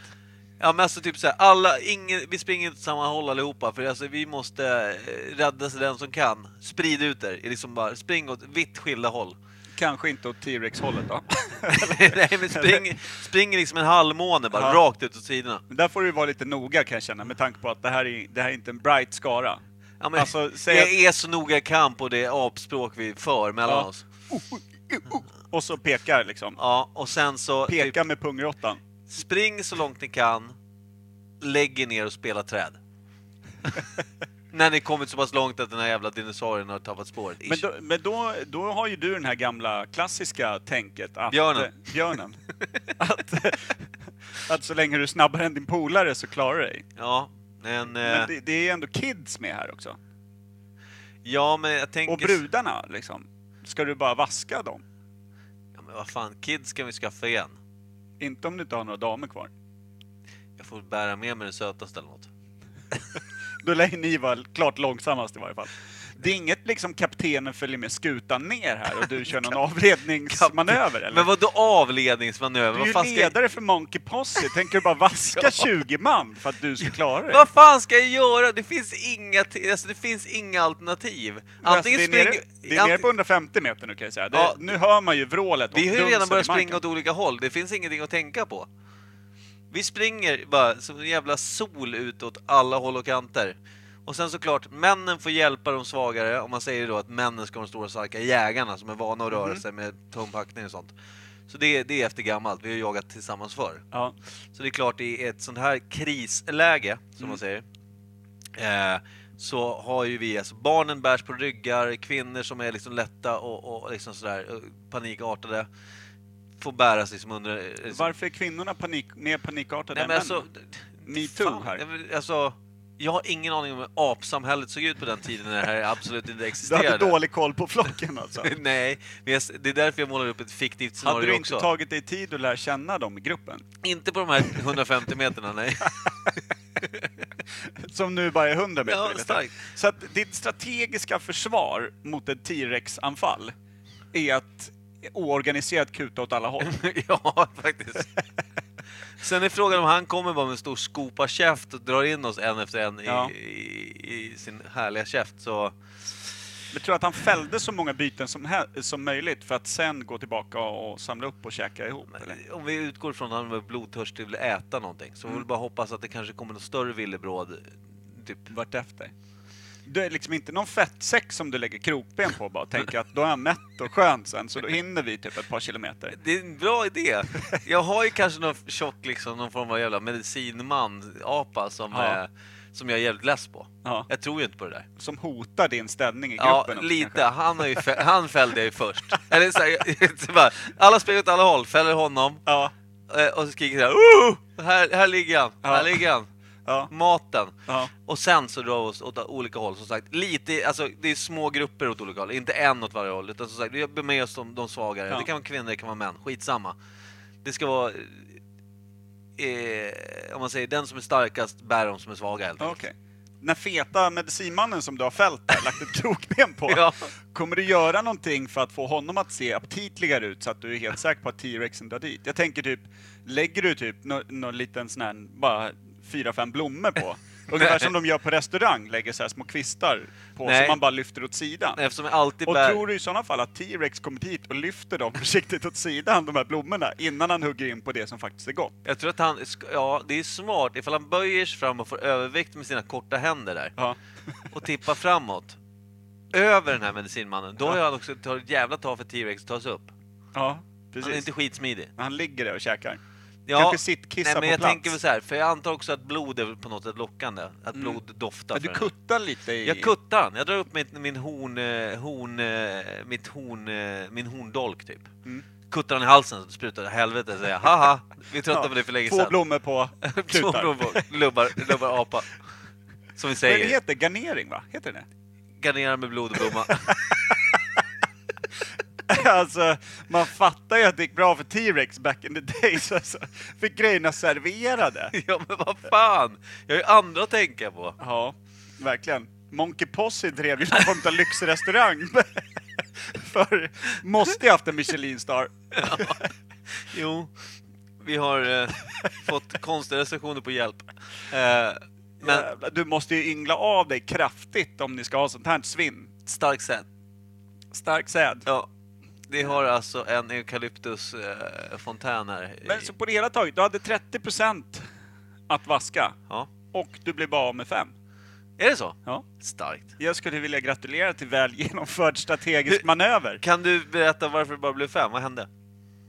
Ja men alltså typ såhär, alla, ingen, vi springer inte åt samma håll allihopa för alltså vi måste eh, rädda sig den som kan. Sprid ut er, liksom bara spring åt vitt skilda håll. [LAUGHS]
kanske inte åt T-Rex-hållet då.
Nej men spring, spring liksom en halvmåne bara,
Ja.
rakt ut åt sidorna.
Men där får du vara lite noga kan jag känna med tanke på att det här är, det här är inte en bright skara.
Ja, men,
Alltså, säg
jag
att-
är så noga jag kan på det apspråk vi för mellan
Ja.
oss.
Och så pekar liksom.
Ja, och sen så typ,
Pekar med pungråttan.
spring så långt ni kan, lägg er ner och spela
[LAUGHS]
träd. När ni kommit så pass långt att den här jävla dinosaurien har tappat spåret.
Men,
ish.
då, men då, då har ju du den här gamla klassiska tänket att... eh,
Björnen.
björnen. att, att så länge du är snabbare än din polare så klarar du dig.
[LAUGHS] Ja, men... eh,
[LAUGHS] Men det, det är ju ändå kids med här också.
Ja, men jag tänker...
Och brudarna liksom. Ska du bara vaska dem?
Ja, men vad fan, kids kan vi skaffa igen.
Inte om du inte har några damer kvar.
Jag får bära med mig den sötaste eller något.
Då lär ju ni vara klart långsammast i varje fall. Det är inget liksom kaptenen följer med skutan ner här och du
[LAUGHS]
kör någon avledningsmanöver eller?
Men vad då avledningsmanöver?
du
Vad
är
fan,
ju
ska jag...
ledare för Monkey Posse, tänker du
[LAUGHS]
bara vaska 20 man för att du ska klara dig?
vad fan ska jag göra? Det finns inga, t- alltså, det finns inga alternativ. Antingen
Alltså, det är, nere,
springer-
det är nere
anting-
på 150 meter nu kan jag säga. Det,
Ja.
nu hör man ju vrålet och
Vi har ju
dunsen
redan
i
börjat
marken.
springa åt olika håll. Det finns ingenting att tänka på. Vi springer bara som en jävla sol ut åt alla håll och kanter. Och sen såklart, männen får hjälpa de svagare, om man säger då att männen ska vara de stora starka jägarna som är vana att röra sig med tung packning och sånt. Så det, det är efter gammalt, vi har jagat tillsammans förr.
Ja.
Så det är klart, i ett sånt här krisläge, som
Mm.
man säger, eh, så har ju vi, alltså barnen bärs på ryggar, kvinnor som är liksom lätta och, och liksom sådär eh, panikartade får bäras liksom under... eh, Liksom,
Varför är kvinnorna panik, mer panikartade
Nej
än
men alltså...
männen?
d-
Metoo
fan,
här.
nej, men Alltså, jag har ingen aning om hur apsamhället såg ut på den tiden när det här absolut inte
[LAUGHS] Du hade
existerade.
dålig koll på flocken alltså.
[LAUGHS] Nej, men jag, s- det är därför jag målar upp ett fiktivt scenario
hade du inte
också.
tagit dig tid att lära känna dem i gruppen?
Inte på de här 150 meterna, nej.
Som nu bara är 100 meter.
Ja,
vet jag.
starkt.
Så att ditt strategiska försvar mot ett T-Rex-anfall är att oorganiserat kuta åt
[LAUGHS]
alla håll.
ja, faktiskt. Sen är frågan om han kommer bara med en stor skopa käft och drar in oss en efter en i,
Ja.
i, i sin härliga käft. Så
Men tror att han fällde så många byten som, hä- som möjligt för att sen gå tillbaka och samla upp och käka ihop? Eller?
om vi utgår från att han var blodtörstig och ville äta någonting
Mm.
så vi vill bara hoppas att det kanske kommer något större villebråd. Typ.
vartefter. Det är liksom inte någon fettsäck som du lägger krokben på bara och tänker att då är jag mätt och skön sen så då hinner vi typ ett par kilometer.
Det är en bra idé. Jag har ju kanske någon tjock, liksom, någon form av jävla medicinman-apa som,
Ja.
eh, som jag är jävligt less på.
Ja.
Jag tror ju inte på det där.
Som hotar din ställning i gruppen.
Ja,
också
lite.
kanske.
Han, har ju fä- han fällde jag ju först. Eller så här, [LAUGHS] så bara, alla springer åt alla håll, fäller honom
Ja,
eh, och så skriker jag oh! här, här ligger han,
Ja.
här ligger han.
ja,
Maten.
ja.
Och sen så drar vi oss åt olika håll, som sagt. Lite, alltså, det är små grupper åt olika håll, inte en åt varje håll. Utan som sagt, vi har med oss de, de svagare.
Ja.
Det kan vara kvinnor, det kan vara män. Skitsamma. Det ska vara... Eh, om man säger den som är starkast bär de som är svaga helt
Okej.
enkelt.
När feta medicinmannen som du har fällt där, lagt ett krokben på,
[LAUGHS] Ja.
kommer du göra någonting för att få honom att se aptitligare ut så att du är helt säker på att T-rexen drar dit? Jag tänker typ, lägger du typ nå- någon liten sån här, bara fyra, fem
[LAUGHS]
blommor på? Ungefär som de gör på restaurang, lägger så här små kvistar på
Nej.
som man bara lyfter åt sidan.
Eftersom jag alltid
Och
bär...
tror du i sådana fall att T-rex kommer hit och lyfter dem försiktigt åt sidan, de här blommorna, innan han hugger in på det som faktiskt är gott?
Jag tror att han, sk- ja det är smart ifall han böjer sig fram och får övervikt med sina korta händer där
Ja.
och tippar framåt över den här medicinmannen, då har han också tagit ett jävla tag för T-Rex att ta sig upp.
Ja,
Han är
precis.
inte skitsmidig.
Han ligger där och käkar.
Ja,
Kanske sittkissa
nej, men
på
jag
plats. Mm.
tänker väl så här, för jag antar också att blod är väl på något sätt lockande. Att blod doftar.
Ja, du
för en.
kuttar lite i...
Jag kuttar han. Jag drar upp mitt, min horn, eh, horn, eh, mitt horn, eh, min horndolk typ.
Mm.
Kuttar han i halsen så sprutar det helvete säger jag. Haha, vi tröttnade på det för länge
Två
sedan.
blommor på
[LAUGHS] Två
kutar.
blommor. Lubbar, lubbar apa. Som vi
Vad
säger,
heter det? Garnering, va? Heter det
garnera med blod och blomma. [LAUGHS]
det? [LAUGHS] Alltså, man fattar ju att det gick bra för T-Rex back in the days. [LAUGHS] Alltså. Fick grejerna [LAUGHS] serverade.
ja men vad fan! Jag har ju andra att tänka på.
Ja, verkligen. Monkey Posse drev ju någon form av lyxrestaurang. [LAUGHS] För måste ju haft en [LAUGHS] Michelin-star.
Jo, vi har eh, fått konstiga recensioner på hjälp. Eh, men
Jävlar, Du måste ju yngla av dig kraftigt om ni ska ha sånt här svinn.
stark sätt.
Stark säd.
Ja, vi har alltså en eukalyptusfontän här. i-
Men så på det hela taget, du hade 30% att vaska
Ja.
och du blev bara av med 5.
Är det så?
Ja.
Starkt.
Jag skulle vilja gratulera till väl genomförd strategisk
Hur-
manöver.
Kan du berätta varför det bara blev fem? Vad hände?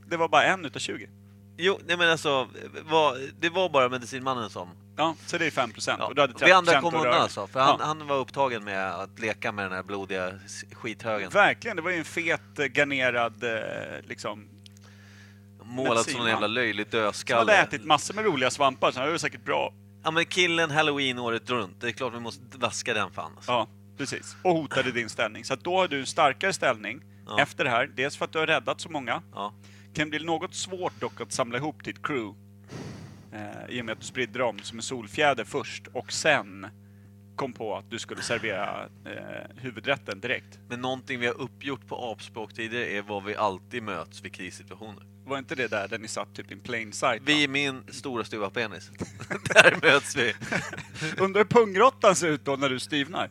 Det var bara en utav 20.
Jo, nej men alltså, vad- det var bara medicinmannen som...
Ja, så det är 5%
Ja.
och du hade 30%
Vi andra kom
att
undan
röra.
alltså, för han,
Ja.
han var upptagen med att leka med den här blodiga s- skithögen.
Verkligen, det var ju en fet eh, garnerad eh, liksom
Målad som en
Medicinman.
jävla löjlig
Som hade
dödskalle.
ätit massor med roliga svampar, så det var säkert bra.
Ja men killen halloween året runt, det är klart vi måste vaska den fan. Alltså.
Ja, precis. Och hotade din ställning. Så att då har du en starkare ställning
Ja.
efter det här. Dels för att du har räddat så många.
Ja.
kan bli något svårt dock att samla ihop ditt crew. Eh, I och med att du spridde dem som en solfjäder först och sen kom på att du skulle servera eh, huvudrätten direkt.
Men någonting vi har uppgjort på apspråk tidigare är vad vi alltid möts vid krissituationer.
Var inte det där där ni satt typ i plain sight?
Vi är min stora stuva penis. [LAUGHS] Där möts vi.
va? Undrar hur pungråttan ser ut då när du stivnar?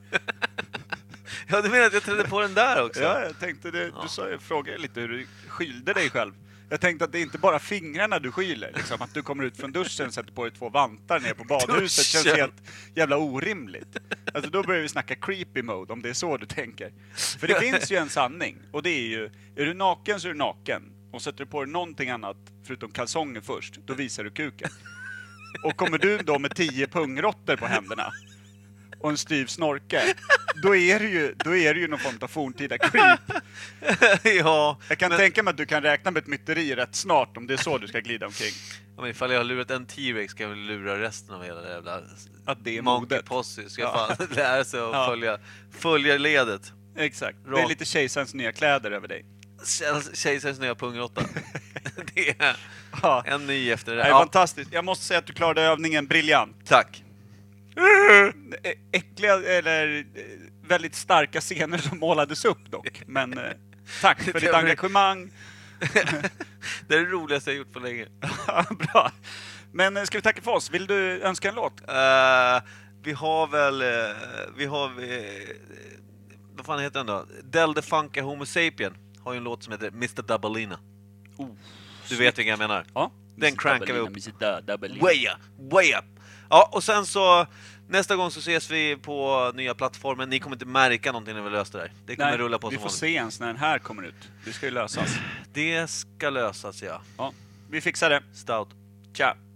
Ja, du menar att jag trädde på den där också?
Ja, jag tänkte det. Du sa, jag frågade lite hur du skylde dig själv. Jag tänkte att det är inte bara fingrarna du skyller, liksom att du kommer ut från duschen och sätter på dig två vantar ner på badhuset känns
Duschen.
helt jävla orimligt. Alltså då börjar vi snacka creepy mode, om det är så du tänker. För det finns ju en sanning, och det är ju, är du naken så är du naken. Och sätter du på dig någonting annat, förutom kalsonger först, då visar du kuken. Och kommer du då med tio pungråttor på händerna och en styv snorke, då är det ju, då är det ju någon form av forntida creep.
[LAUGHS] ja.
Jag kan tänka mig att du kan räkna med ett myteri rätt snart om det är så du ska glida omkring.
Ja, men ifall jag har lurat en T-Rex kan jag väl lura resten av hela det jävla...
Att det är
Monkey
modet.
Posse ska
Ja.
fan [LAUGHS] lära sig att
Ja.
följa, följa ledet.
Exakt. Det är
Rakt.
lite kejsarens nya kläder över dig.
Känns- Kejsarens nya
[LAUGHS]
pungråtta. det är
Ja.
en ny efter det
Det
där.
är
Ja,
fantastiskt. Jag måste säga att du klarade övningen briljant.
tack.
Ä- Äckliga, eller eh, väldigt starka scener som målades upp dock. Men eh, tack för ditt engagemang. [LAUGHS]
Det är det roligaste jag gjort på länge.
Ja, Bra. Men eh, ska vi tacka för oss? Vill du önska en låt?
Eh, vi har väl... eh, vi har... eh, vad fan heter den då? Del Funka Homo Sapien har ju en låt som heter Mr. Dabalina.
Oh,
du vet vilken jag menar?
Ja.
Den crankar vi upp.
upp.
Way up, way up! Ja, och sen så... Nästa gång så ses vi på nya plattformen. Ni kommer inte märka någonting när vi löser det här. Det kommer
Nej,
rulla på
vi
som
får
vanligt.
se ens när den här kommer ut. Det ska ju lösas.
Det ska lösas, ja.
Ja. Vi fixar det.
Stout.
Tja!
Oh, Oh, Oh, Oh, Oh,